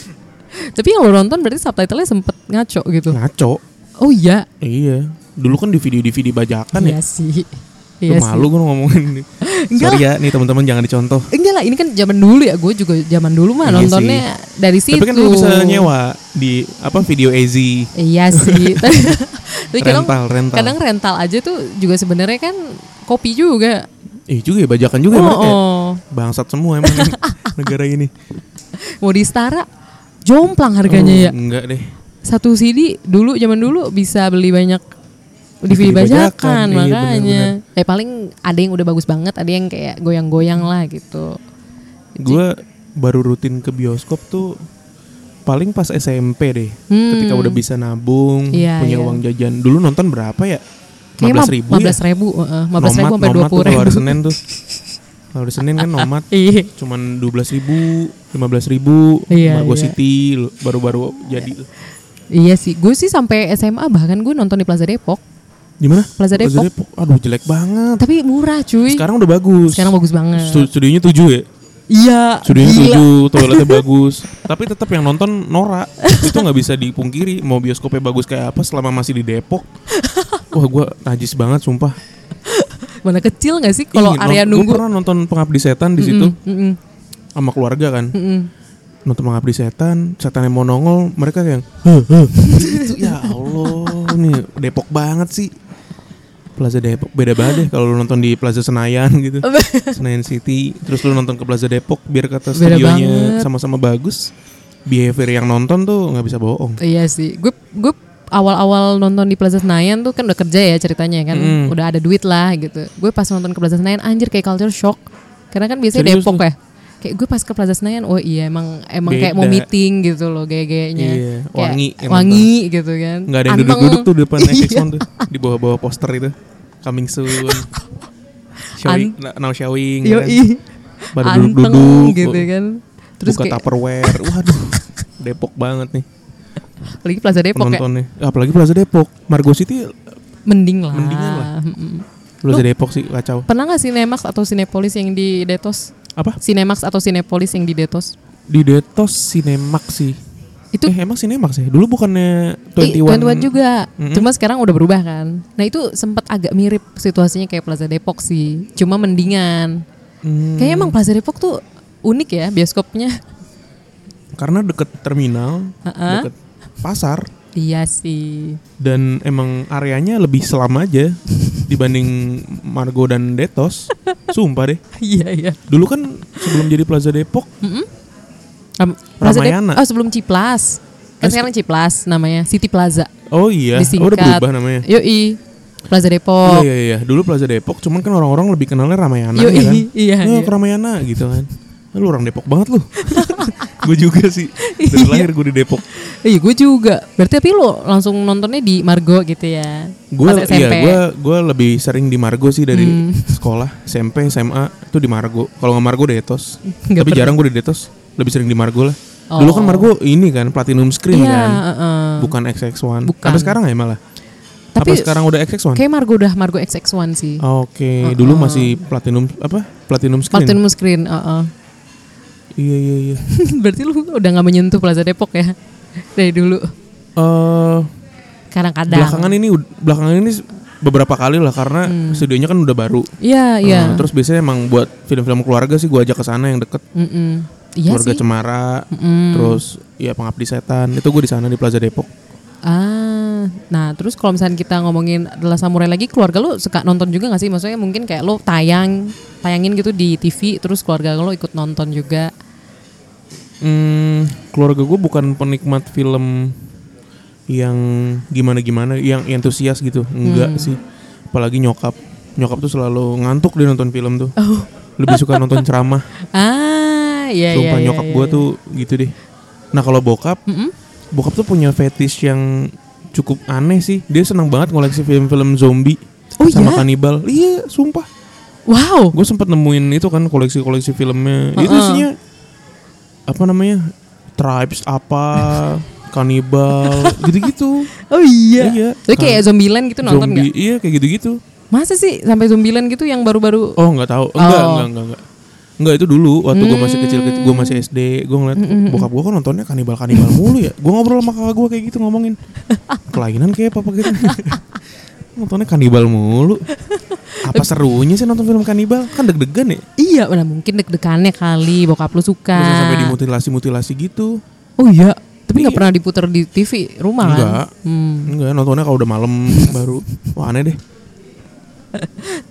Speaker 1: Tapi yang lo nonton berarti subtitlenya sempet ngaco gitu.
Speaker 2: Ngaco.
Speaker 1: Oh iya,
Speaker 2: Iya. Dulu kan DVD-DVD bajakan
Speaker 1: iya
Speaker 2: ya.
Speaker 1: sih.
Speaker 2: Lu
Speaker 1: Iya sih.
Speaker 2: malu gue ngomongin. ini. Sorry ya nih teman-teman jangan dicontoh.
Speaker 1: Enggak lah, ini kan zaman dulu ya. Gue juga zaman dulu mah
Speaker 2: Iya
Speaker 1: nontonnya dari situ.
Speaker 2: Tapi kan lu bisa nyewa di apa video AZ.
Speaker 1: Iya sih. Tapi tapi kadang,
Speaker 2: Rental, rental.
Speaker 1: kadang rental aja tuh juga sebenarnya kan kopi juga.
Speaker 2: Eh juga ya bajakan juga ya
Speaker 1: oh,
Speaker 2: mereka ya.
Speaker 1: oh.
Speaker 2: Bangsat semua emang negara ini.
Speaker 1: mau di setara jomplang harganya ya.
Speaker 2: Oh, Enggak deh.
Speaker 1: Satu CD dulu zaman dulu bisa beli banyak DVD
Speaker 2: DVD bajakan,
Speaker 1: bajakan
Speaker 2: iya,
Speaker 1: makanya. Eh paling ada yang udah bagus banget, ada yang kayak goyang-goyang lah gitu.
Speaker 2: Gue baru rutin ke bioskop tuh paling pas SMP deh. Ketika udah bisa nabung,
Speaker 1: Hmm. Iya,
Speaker 2: punya
Speaker 1: iya.
Speaker 2: uang jajan. Dulu nonton berapa ya?
Speaker 1: Kayaknya
Speaker 2: 15 ribu ya?
Speaker 1: 15 ribu, heeh. 15 ribu
Speaker 2: Nomat-
Speaker 1: sampai
Speaker 2: nomat
Speaker 1: 20
Speaker 2: tuh kalau
Speaker 1: ribu.
Speaker 2: hari Senin tuh. Kalau hari Senin kan nomat.
Speaker 1: Iya.
Speaker 2: Cuman 12 ribu, 15 ribu,
Speaker 1: Iya,
Speaker 2: Margo
Speaker 1: iya.
Speaker 2: City lu- baru-baru jadi. tuh.
Speaker 1: Iya sih, gue sih sampai SMA bahkan gue nonton di Plaza Depok,
Speaker 2: Gimana?
Speaker 1: Plaza Depok.
Speaker 2: Aduh jelek banget.
Speaker 1: tapi murah cuy.
Speaker 2: Sekarang udah bagus.
Speaker 1: Sekarang bagus banget.
Speaker 2: Stu- Studionya 7 ya?
Speaker 1: Iya.
Speaker 2: Studionya
Speaker 1: gila.
Speaker 2: 7, toiletnya bagus. Tapi tetap yang nonton Nora. Itu nggak bisa dipungkiri. Mau bioskopnya bagus kayak apa selama masih di Depok. Wah gue najis banget sumpah.
Speaker 1: Mana kecil nggak sih kalau area
Speaker 2: Gue
Speaker 1: nunggu? Mm,
Speaker 2: pernah nonton Pengabdi Setan di situ
Speaker 1: Mm-mm.
Speaker 2: sama keluarga kan.
Speaker 1: Mm-mm.
Speaker 2: Nonton Pengabdi Setan, setan yang mau nongol, mereka kayak "Heh, heh." Gitu, ya Allah, nih Depok banget sih. Plaza Depok beda banget deh kalau lu nonton di Plaza Senayan gitu. Senayan City, terus lu nonton ke Plaza Depok biar kata
Speaker 1: Beda
Speaker 2: studionya
Speaker 1: banget.
Speaker 2: sama-sama bagus. Behavior yang nonton tuh nggak bisa bohong.
Speaker 1: Iya sih. Gue gue awal-awal nonton di Plaza Senayan tuh kan udah kerja ya ceritanya kan,
Speaker 2: Mm.
Speaker 1: udah ada duit lah gitu. Gue pas nonton ke Plaza Senayan anjir kayak culture shock. Karena kan biasanya
Speaker 2: Serius
Speaker 1: Depok
Speaker 2: lu?
Speaker 1: ya. Kayak gue pas ke Plaza Senayan, oh iya emang emang kayak
Speaker 2: Beda.
Speaker 1: mau meeting gitu loh gaya-gayanya.
Speaker 2: Iya,
Speaker 1: Kayak
Speaker 2: wangi yang
Speaker 1: wangi gitu kan.
Speaker 2: Nggak ada yang
Speaker 1: Anteng.
Speaker 2: duduk-duduk tuh di depan
Speaker 1: Iya.
Speaker 2: Netflix tuh di bawah-bawah poster itu. Coming soon. Showing, now showing. kan.
Speaker 1: Yoi.
Speaker 2: Pada
Speaker 1: Anteng
Speaker 2: duduk-duduk
Speaker 1: gitu kan. Terus
Speaker 2: buka
Speaker 1: kayak
Speaker 2: Tupperware. Waduh, Depok banget nih
Speaker 1: lagi Plaza Depok ya.
Speaker 2: penontonnya. Apalagi Plaza Depok. Margo City,
Speaker 1: Mending lah.
Speaker 2: Mendingan lah.
Speaker 1: Mm-mm.
Speaker 2: Plaza Depok sih kacau.
Speaker 1: Pernah nggak Cinemax atau Cinepolis yang di Detos?
Speaker 2: Apa?
Speaker 1: Cinemax atau Cinepolis yang di Detos?
Speaker 2: Di Detos Cinemax sih.
Speaker 1: Itu
Speaker 2: eh, emang Cinemax ya? Dulu bukannya
Speaker 1: eh,
Speaker 2: 21,
Speaker 1: 21 juga.
Speaker 2: Mm-mm.
Speaker 1: Cuma sekarang udah berubah kan. Nah, itu sempat agak mirip situasinya kayak Plaza Depok sih. Cuma mendingan.
Speaker 2: Hmm,
Speaker 1: Kayaknya emang Plaza Depok tuh unik ya bioskopnya.
Speaker 2: karena deket terminal,
Speaker 1: Ha-ha.
Speaker 2: deket pasar,
Speaker 1: Iya sih.
Speaker 2: dan emang areanya lebih selam aja dibanding Margo dan Detos. Sumpah deh.
Speaker 1: Iya iya.
Speaker 2: Dulu kan sebelum jadi Plaza Depok,
Speaker 1: Hmm. Am- Plaza Dep-
Speaker 2: Ramayana.
Speaker 1: Oh sebelum Ciplas. Kan
Speaker 2: Eh,
Speaker 1: sekarang Ciplas namanya City Plaza.
Speaker 2: oh iya, oh, udah berubah namanya.
Speaker 1: Yoi. Plaza
Speaker 2: Iya
Speaker 1: Depok.
Speaker 2: iya iya. Dulu Plaza Depok, cuman kan orang-orang lebih kenalnya Ramayana
Speaker 1: Oh. Yoi,
Speaker 2: ya kan.
Speaker 1: iya, iya.
Speaker 2: Nah, ke Ramayana gitu kan. Nah, Lu orang Depok banget lu. gue juga sih. Dari
Speaker 1: Iya.
Speaker 2: lahir gue di Depok.
Speaker 1: Iya, gue juga. Berarti tapi lo langsung nontonnya di Margo gitu ya?
Speaker 2: Gue
Speaker 1: Pas
Speaker 2: iya,
Speaker 1: SMP.
Speaker 2: gue gue lebih sering di Margo sih dari
Speaker 1: Hmm.
Speaker 2: sekolah, SMP, SMA itu di Margo. Kalau nggak Margo Detos.
Speaker 1: Nggak
Speaker 2: Tapi
Speaker 1: pernah.
Speaker 2: jarang gue di Detos. Lebih sering di Margo lah. Dulu kan
Speaker 1: Oh.
Speaker 2: Margo ini kan platinum screen
Speaker 1: Iya,
Speaker 2: kan.
Speaker 1: heeh.
Speaker 2: Bukan XX1.
Speaker 1: Bukan.
Speaker 2: Apa sekarang ya malah?
Speaker 1: Tapi
Speaker 2: Apa sekarang udah XX1?
Speaker 1: Kayak Margo udah Margo XX1 sih.
Speaker 2: Oke, dulu masih platinum apa? Platinum screen.
Speaker 1: Platinum screen, heeh.
Speaker 2: Iya iya iya.
Speaker 1: Berarti lu udah nggak menyentuh Plaza Depok ya dari dulu.
Speaker 2: Eh,
Speaker 1: Kadang-kadang.
Speaker 2: belakangan ini ud- belakangan ini s- beberapa kali lah karena studionya kan udah baru.
Speaker 1: Iya Hmm. iya.
Speaker 2: Nah, terus biasanya emang buat film-film keluarga sih gua ajak ke sana yang deket
Speaker 1: Mm-mm. Iya
Speaker 2: keluarga
Speaker 1: sih.
Speaker 2: Cemara, terus ya Pengabdi Setan. Itu gue di sana di Plaza Depok.
Speaker 1: Ah, nah terus kalau misalnya kita ngomongin adalah samurai lagi, keluarga lu suka nonton juga gak sih? Maksudnya mungkin kayak lu tayang, tayangin gitu di TV, terus keluarga lu ikut nonton juga.
Speaker 2: Hmm, keluarga gue bukan penikmat film yang gimana-gimana, yang antusias gitu.
Speaker 1: Hmm.
Speaker 2: Enggak sih. Apalagi nyokap. Nyokap tuh selalu ngantuk dia nonton film tuh.
Speaker 1: Oh.
Speaker 2: Lebih suka nonton ceramah.
Speaker 1: Ah, iya iya.
Speaker 2: Sumpah
Speaker 1: iya,
Speaker 2: nyokap
Speaker 1: iya,
Speaker 2: gue
Speaker 1: iya.
Speaker 2: tuh gitu deh. Nah kalau bokap, bokap tuh punya fetish yang cukup aneh sih. Dia senang banget ngoleksi film-film zombie
Speaker 1: Oh
Speaker 2: sama
Speaker 1: iya?
Speaker 2: kanibal. Iya, sumpah.
Speaker 1: Wow.
Speaker 2: Gue sempet nemuin itu kan koleksi-koleksi filmnya. Itu isinya apa namanya? Tribes apa? kanibal, gitu-gitu.
Speaker 1: Oh iya.
Speaker 2: Iya.
Speaker 1: Tapi kayak
Speaker 2: Kan-
Speaker 1: Zombieland gitu nonton
Speaker 2: zombie,
Speaker 1: nggak?
Speaker 2: iya kayak gitu-gitu.
Speaker 1: Masa sih sampai Zombieland gitu yang baru-baru?
Speaker 2: Oh nggak tahu, enggak,
Speaker 1: Oh.
Speaker 2: enggak enggak enggak. Enggak itu dulu waktu gue masih kecil, gue masih SD, gue ngeliat bokap gue kan nontonnya kanibal kanibal mulu ya. Gue ngobrol sama kakak gue kayak gitu ngomongin kelainan kayak apa gitu. nontonnya kanibal mulu. Apa serunya sih nonton film kanibal? Kan deg-degan ya.
Speaker 1: Iya, nah mungkin deg-degannya kali bokap lu suka.
Speaker 2: Bisa sampai dimutilasi-mutilasi gitu.
Speaker 1: Oh iya. Tapi nggak pernah diputer di TV rumah kan?
Speaker 2: Enggak.
Speaker 1: Hmm.
Speaker 2: Enggak, nontonnya kalau udah malam baru. Wah, aneh deh.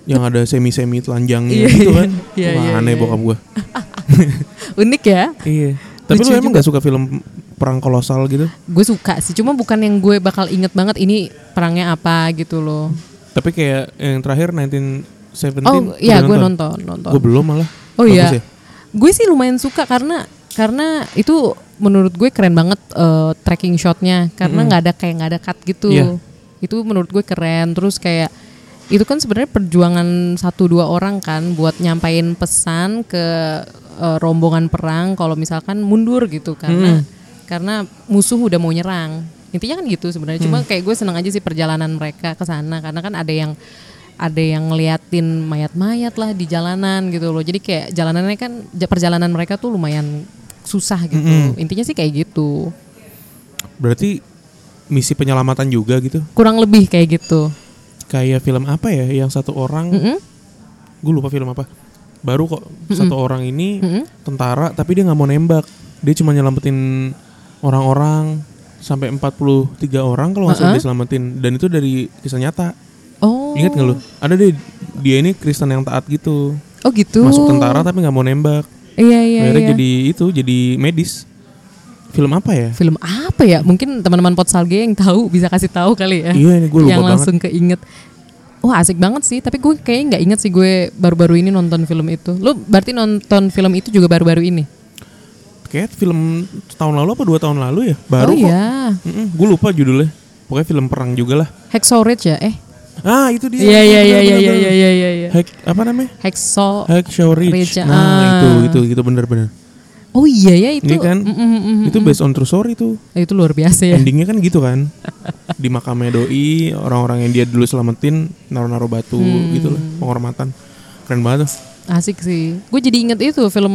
Speaker 2: Yang ada semi-semi telanjangnya
Speaker 1: Iya,
Speaker 2: gitu kan.
Speaker 1: iya, iya,
Speaker 2: Wah,
Speaker 1: iya,
Speaker 2: aneh
Speaker 1: iya.
Speaker 2: bokap gue.
Speaker 1: Unik ya.
Speaker 2: Iya. Tapi
Speaker 1: Lucu
Speaker 2: lu emang
Speaker 1: juga.
Speaker 2: gak suka film perang kolosal gitu?
Speaker 1: Gue suka sih, cuma bukan yang gue bakal inget banget ini perangnya apa gitu loh.
Speaker 2: Tapi kayak yang terakhir 1917
Speaker 1: Oh iya, gue nonton, nonton.
Speaker 2: Gue belum malah.
Speaker 1: oh
Speaker 2: Bagus
Speaker 1: iya,
Speaker 2: ya?
Speaker 1: gue sih lumayan suka karena karena itu menurut gue keren banget eh, tracking shotnya karena nggak ada kayak nggak ada cut gitu.
Speaker 2: Iya.
Speaker 1: Itu menurut gue keren. Terus kayak itu kan sebenarnya perjuangan satu dua orang kan buat nyampain pesan ke eh, rombongan perang kalau misalkan mundur gitu
Speaker 2: Hmm.
Speaker 1: karena karena musuh udah mau nyerang. Intinya kan gitu sebenarnya.
Speaker 2: Hmm.
Speaker 1: Cuma kayak gue seneng aja sih perjalanan mereka ke sana karena kan ada yang ada yang ngeliatin mayat-mayat lah di jalanan gitu loh. Jadi kayak jalanannya kan ja- perjalanan mereka tuh lumayan susah gitu.
Speaker 2: Hmm.
Speaker 1: Intinya sih kayak gitu.
Speaker 2: Berarti misi penyelamatan juga gitu.
Speaker 1: Kurang lebih kayak gitu.
Speaker 2: Kayak film apa ya yang satu orang
Speaker 1: Mm-mm.
Speaker 2: gue lupa film apa. Baru kok satu orang ini tentara tapi dia nggak mau nembak. Dia cuma nyelamatin orang-orang sampai 43 orang kalau nggak salah
Speaker 1: Uh-uh.
Speaker 2: diselamatin dan itu dari kisah nyata.
Speaker 1: Oh.
Speaker 2: Ingat nggak lu? Ada deh dia ini Kristen yang taat gitu.
Speaker 1: Oh gitu.
Speaker 2: Masuk tentara tapi nggak mau nembak.
Speaker 1: Iya iya.
Speaker 2: Akhirnya
Speaker 1: iya.
Speaker 2: jadi itu jadi medis. Film apa ya?
Speaker 1: film apa ya? Mungkin teman-teman Potsalge yang tahu bisa kasih tahu kali ya.
Speaker 2: Iya, ini gue lupa
Speaker 1: Yang
Speaker 2: banget.
Speaker 1: langsung keinget. Wah asik banget sih, tapi gue kayaknya nggak inget sih gue baru-baru ini nonton film itu. Lo berarti nonton film itu juga baru-baru ini?
Speaker 2: Kayak film tahun lalu apa dua tahun lalu ya?
Speaker 1: oh
Speaker 2: Baru kok.
Speaker 1: iya,
Speaker 2: gue lupa judulnya. Pokoknya film perang juga lah.
Speaker 1: Hacksaw Ridge ya? Eh,
Speaker 2: Ah itu dia.
Speaker 1: Iya iya iya iya iya
Speaker 2: Bener, bener, bener.
Speaker 1: iya iya. iya.
Speaker 2: Hack apa namanya?
Speaker 1: Hexo.
Speaker 2: Hack Show Ridge.
Speaker 1: Ridge, ah.
Speaker 2: Nah itu itu itu bener-bener.
Speaker 1: Oh iya ya itu.
Speaker 2: Ini kan
Speaker 1: Mm, mm, mm, mm.
Speaker 2: itu based on true story tuh.
Speaker 1: Eh, Itu luar biasa ya.
Speaker 2: Endingnya kan gitu kan. Di makamnya doi orang-orang yang dia dulu selamatin naruh-naruh batu
Speaker 1: Hmm.
Speaker 2: gitu lah penghormatan. Keren banget. tuh.
Speaker 1: Asik sih. Gue jadi inget itu film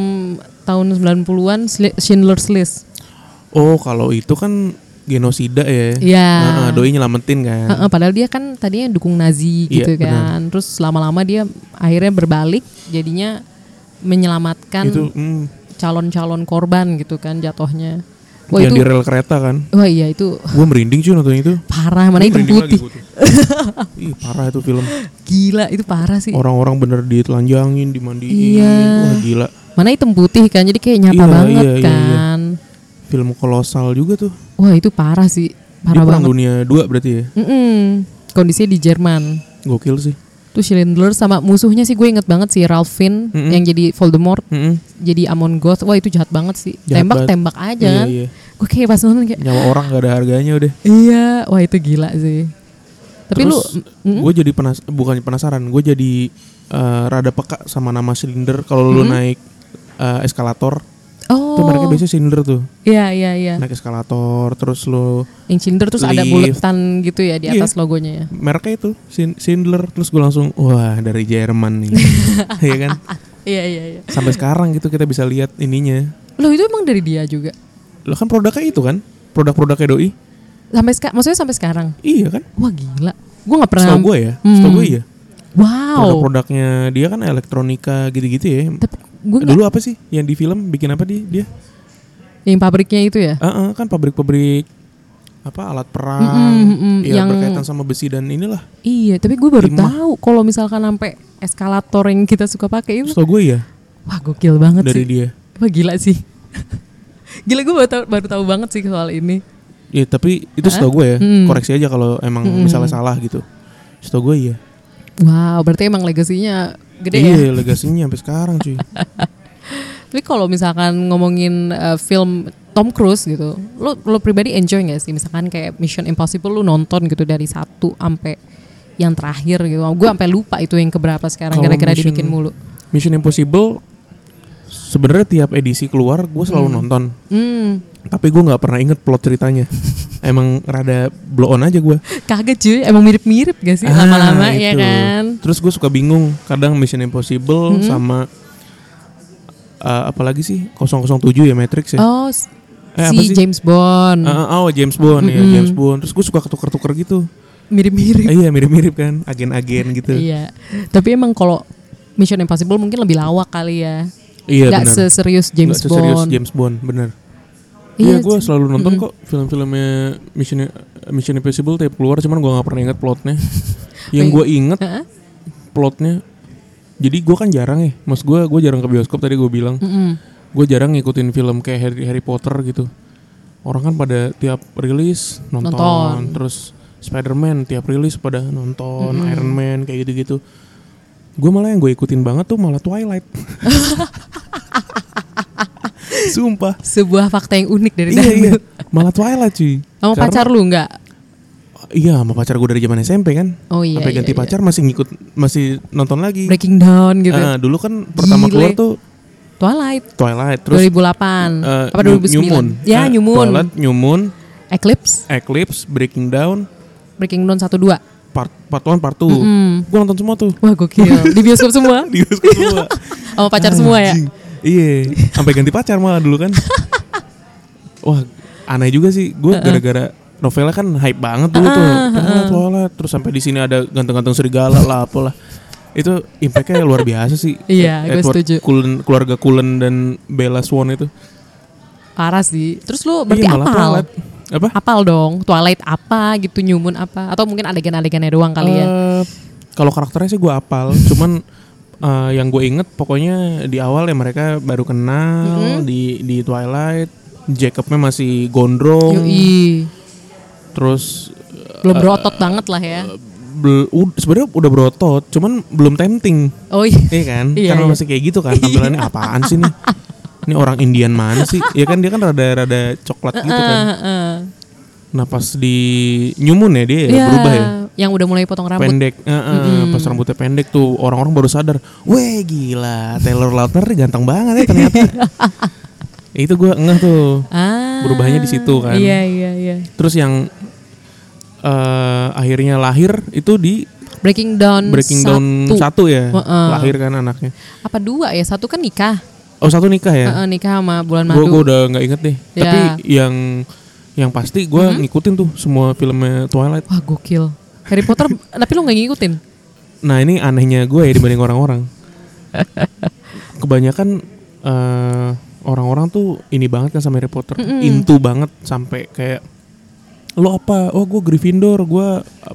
Speaker 1: tahun 90-an Sli- Schindler's List.
Speaker 2: Oh kalau itu kan genosida ya.
Speaker 1: Iya.
Speaker 2: Nah, doi nyelamatin kan.
Speaker 1: Heeh, padahal dia kan tadinya dukung Nazi
Speaker 2: Iya,
Speaker 1: gitu kan. Terus lama-lama dia akhirnya berbalik jadinya menyelamatkan
Speaker 2: Itu mm,
Speaker 1: calon-calon korban gitu kan jatuhnya. Wah,
Speaker 2: yang
Speaker 1: itu-
Speaker 2: di rel kereta kan.
Speaker 1: Wah iya itu
Speaker 2: Gue merinding cuy nonton itu.
Speaker 1: parah mana itu
Speaker 2: Merinding lagi
Speaker 1: putih.
Speaker 2: gua tuh. Ih parah itu film.
Speaker 1: Gila itu parah sih.
Speaker 2: Orang-orang bener ditelanjangin, dimandiin.
Speaker 1: Iya.
Speaker 2: Wah gila.
Speaker 1: Mana hitam putih kan jadi kayak nyata
Speaker 2: Iya,
Speaker 1: banget
Speaker 2: iya, iya, iya.
Speaker 1: kan.
Speaker 2: Film kolosal juga tuh.
Speaker 1: Wah itu parah sih.
Speaker 2: Di
Speaker 1: Parah
Speaker 2: Perang
Speaker 1: banget.
Speaker 2: Dunia 2 berarti ya.
Speaker 1: Mm-mm. Kondisinya di Jerman.
Speaker 2: Gokil sih.
Speaker 1: Tuh Schindler sama musuhnya sih gue inget banget sih Ralph Finn
Speaker 2: Mm-mm.
Speaker 1: yang jadi Voldemort.
Speaker 2: Mm-mm.
Speaker 1: Jadi Amon Goth. Wah itu jahat banget sih.
Speaker 2: Jahat banget.
Speaker 1: Tembak-tembak aja
Speaker 2: Iya,
Speaker 1: kan.
Speaker 2: iya.
Speaker 1: Gue kayak pas nonton kayak
Speaker 2: Nyawa orang gak ada harganya udah.
Speaker 1: iya. Wah itu gila sih. Tapi
Speaker 2: Terus
Speaker 1: lu mm,
Speaker 2: gue jadi penas bukan penasaran, gue jadi eh, rada peka sama nama silinder kalau lu naik eh, eskalator.
Speaker 1: oh
Speaker 2: Tuh mereka biasanya silinder tuh.
Speaker 1: iya iya iya.
Speaker 2: Naik eskalator terus lu
Speaker 1: Yang Schindler terus ada
Speaker 2: Lift.
Speaker 1: buletan gitu ya di
Speaker 2: Iya.
Speaker 1: atas logonya ya.
Speaker 2: mereknya itu Sin- Sindler terus gue langsung wah dari Jerman nih. Iya kan?
Speaker 1: Iya iya iya.
Speaker 2: Sampai sekarang gitu kita bisa lihat ininya.
Speaker 1: Loh itu emang dari dia juga.
Speaker 2: Lo kan produknya itu kan? Produk-produknya doi.
Speaker 1: Sampai seka- maksudnya sampai sekarang.
Speaker 2: Iya kan?
Speaker 1: Wah gila. Gue nggak pernah. Hmm.
Speaker 2: Setahu gue ya, setahu gue iya.
Speaker 1: Wow.
Speaker 2: Produk-produknya dia kan elektronika gitu-gitu ya.
Speaker 1: Tapi gue nggak.
Speaker 2: Dulu apa sih yang di film bikin apa dia? dia?
Speaker 1: Yang pabriknya itu ya.
Speaker 2: Heeh, kan pabrik-pabrik apa alat perang
Speaker 1: mm,
Speaker 2: ya,
Speaker 1: yang-
Speaker 2: berkaitan sama besi dan inilah.
Speaker 1: Iya. Tapi gue baru
Speaker 2: Lima.
Speaker 1: tahu kalau misalkan sampai eskalator yang kita suka pakai itu.
Speaker 2: Setahu gue ya
Speaker 1: Wah gokil banget Iya.
Speaker 2: dari
Speaker 1: sih.
Speaker 2: dia.
Speaker 1: Wah gila sih. gila gue baru tahu, baru tahu banget sih soal ini.
Speaker 2: Ya tapi itu setahu gue ya.
Speaker 1: Hmm.
Speaker 2: Koreksi aja kalau emang misalnya salah gitu. Setahu gue iya.
Speaker 1: Wow. Berarti emang legasinya gede ya.
Speaker 2: Iya, legasinya sampai sekarang cuy.
Speaker 1: Tapi kalau misalkan ngomongin eh, film Tom Cruise gitu, lo lo pribadi enjoy nggak sih? Misalkan kayak Mission Impossible lo nonton gitu dari satu sampai yang terakhir gitu. Gue sampai lupa itu yang keberapa sekarang
Speaker 2: Kalau
Speaker 1: gara-gara
Speaker 2: Mission-
Speaker 1: dibikin mulu.
Speaker 2: Mission Impossible sebenarnya tiap edisi keluar gue selalu nonton.
Speaker 1: Hmm,
Speaker 2: Tapi gue nggak pernah inget plot ceritanya. emang rada blow on aja gue.
Speaker 1: kaget cuy, emang mirip-mirip gak sih
Speaker 2: Ah,
Speaker 1: lama-lama ya
Speaker 2: itu.
Speaker 1: kan? Hmm.
Speaker 2: Terus gue suka bingung kadang Mission Impossible sama eh, apalagi sih 007 ya Matrix ya.
Speaker 1: Oh, s-
Speaker 2: Eh, apa
Speaker 1: si
Speaker 2: sih?
Speaker 1: James Bond
Speaker 2: Eh, oh James Bond ya
Speaker 1: Hmm.
Speaker 2: James Bond. Terus gue suka ketuker-tuker gitu.
Speaker 1: mirip-mirip.
Speaker 2: Eh, iya mirip-mirip kan agen-agen gitu.
Speaker 1: Iya, tapi emang kalau Mission Impossible mungkin lebih lawak kali ya.
Speaker 2: Iya
Speaker 1: Nggak
Speaker 2: benar.
Speaker 1: seserius James
Speaker 2: Nggak seserius
Speaker 1: Bond.
Speaker 2: James Bond benar.
Speaker 1: Iya,
Speaker 2: Iya gue selalu nonton kok film-filmnya Mission Mission Impossible tiap keluar cuman gue nggak pernah inget plotnya. Yang gue inget
Speaker 1: Heeh.
Speaker 2: plotnya. Jadi gue kan jarang ya, mas gue gue jarang ke bioskop tadi gue bilang. Gue jarang ngikutin film kayak Harry, Harry Potter gitu. Orang kan pada tiap rilis nonton,
Speaker 1: Nonton.
Speaker 2: terus Spider-Man tiap rilis pada nonton, Iron Man kayak gitu-gitu. Gue malah yang gue ikutin banget tuh malah Twilight. Sumpah.
Speaker 1: Sebuah fakta yang unik dari
Speaker 2: Iya iya.
Speaker 1: dangdut.
Speaker 2: Malah Twilight cuy.
Speaker 1: Sama
Speaker 2: Karena-
Speaker 1: pacar lu nggak?
Speaker 2: Iya, sama pacar gue dari zaman SMP kan.
Speaker 1: Oh, iya,
Speaker 2: Sampai ganti
Speaker 1: iya,
Speaker 2: pacar masih ngikut masih nonton lagi.
Speaker 1: Breaking Down gitu.
Speaker 2: Ah, dulu kan pertama
Speaker 1: Gile.
Speaker 2: keluar tuh
Speaker 1: Twilight
Speaker 2: Twilight terus
Speaker 1: 2008
Speaker 2: eh,
Speaker 1: apa
Speaker 2: New-
Speaker 1: 2009?
Speaker 2: New Moon.
Speaker 1: Ya,
Speaker 2: Eh,
Speaker 1: New Moon.
Speaker 2: Twilight, New Moon,
Speaker 1: Eclipse,
Speaker 2: Eclipse, Breaking Down,
Speaker 1: Breaking Down 1 2.
Speaker 2: part part 1, part 2. Gue nonton semua tuh.
Speaker 1: Wah, gokil. Di bioskop semua.
Speaker 2: Di bioskop semua.
Speaker 1: Sama pacar semua ya.
Speaker 2: Anjing. Iya, sampai ganti pacar malah dulu kan. Wah, aneh juga sih. Gue gara-gara novelnya kan hype banget dulu tuh. Twilight, Twilight. Terus sampai di sini ada ganteng-ganteng serigala lah apalah. Itu impactnya luar biasa sih.
Speaker 1: Iya, gua
Speaker 2: Eh, Edward
Speaker 1: setuju.
Speaker 2: Cullen, keluarga Cullen dan Bella Swan itu.
Speaker 1: Parah sih. Terus lu berarti
Speaker 2: Iya, malah
Speaker 1: apal.
Speaker 2: Twilight. Apa?
Speaker 1: Apal dong. Twilight apa gitu, New Moon apa atau mungkin adegan-adegannya doang kali ya.
Speaker 2: Eh, Kalau karakternya sih gue apal, cuman eh, yang gue inget pokoknya di awal ya mereka baru kenal di di Twilight, Jacobnya masih gondrong,
Speaker 1: Yoi.
Speaker 2: terus
Speaker 1: Belum
Speaker 2: Eh,
Speaker 1: berotot banget lah ya.
Speaker 2: bel- ud- sebenarnya udah berotot, cuman belum tempting,
Speaker 1: Oh iya.
Speaker 2: iya kan?
Speaker 1: Iya,
Speaker 2: Karena
Speaker 1: iya.
Speaker 2: masih kayak gitu kan, tampilannya apaan sih nih? Ini orang Indian mana sih? Ya kan dia kan rada-rada coklat gitu kan.
Speaker 1: Heeh.
Speaker 2: Nah pas di New Moon ya dia ya,
Speaker 1: Ya,
Speaker 2: berubah ya.
Speaker 1: Yang udah mulai potong rambut.
Speaker 2: pendek eh, eh, pas rambutnya pendek tuh orang-orang baru sadar weh gila Taylor Lautner nih ganteng banget ya ternyata Ya, itu gue ngeh tuh
Speaker 1: Ah.
Speaker 2: Berubahnya di situ kan.
Speaker 1: Iya, iya, iya.
Speaker 2: terus yang eh, akhirnya lahir itu di
Speaker 1: Breaking Down
Speaker 2: Breaking Down satu ya
Speaker 1: Mm, Heeh.
Speaker 2: lahir kan anaknya
Speaker 1: apa dua ya satu kan nikah
Speaker 2: oh satu nikah ya
Speaker 1: Heeh, nikah sama bulan
Speaker 2: gue
Speaker 1: madu
Speaker 2: udah nggak inget deh
Speaker 1: Ya.
Speaker 2: tapi yang yang pasti gue ngikutin tuh semua filmnya Twilight
Speaker 1: wah gokil Harry Potter tapi lu nggak ngikutin
Speaker 2: Nah ini anehnya gue ya dibanding orang-orang. Kebanyakan eh, orang-orang tuh ini banget kan sama Harry Potter, into banget sampai kayak lo apa? Oh gue Gryffindor, gue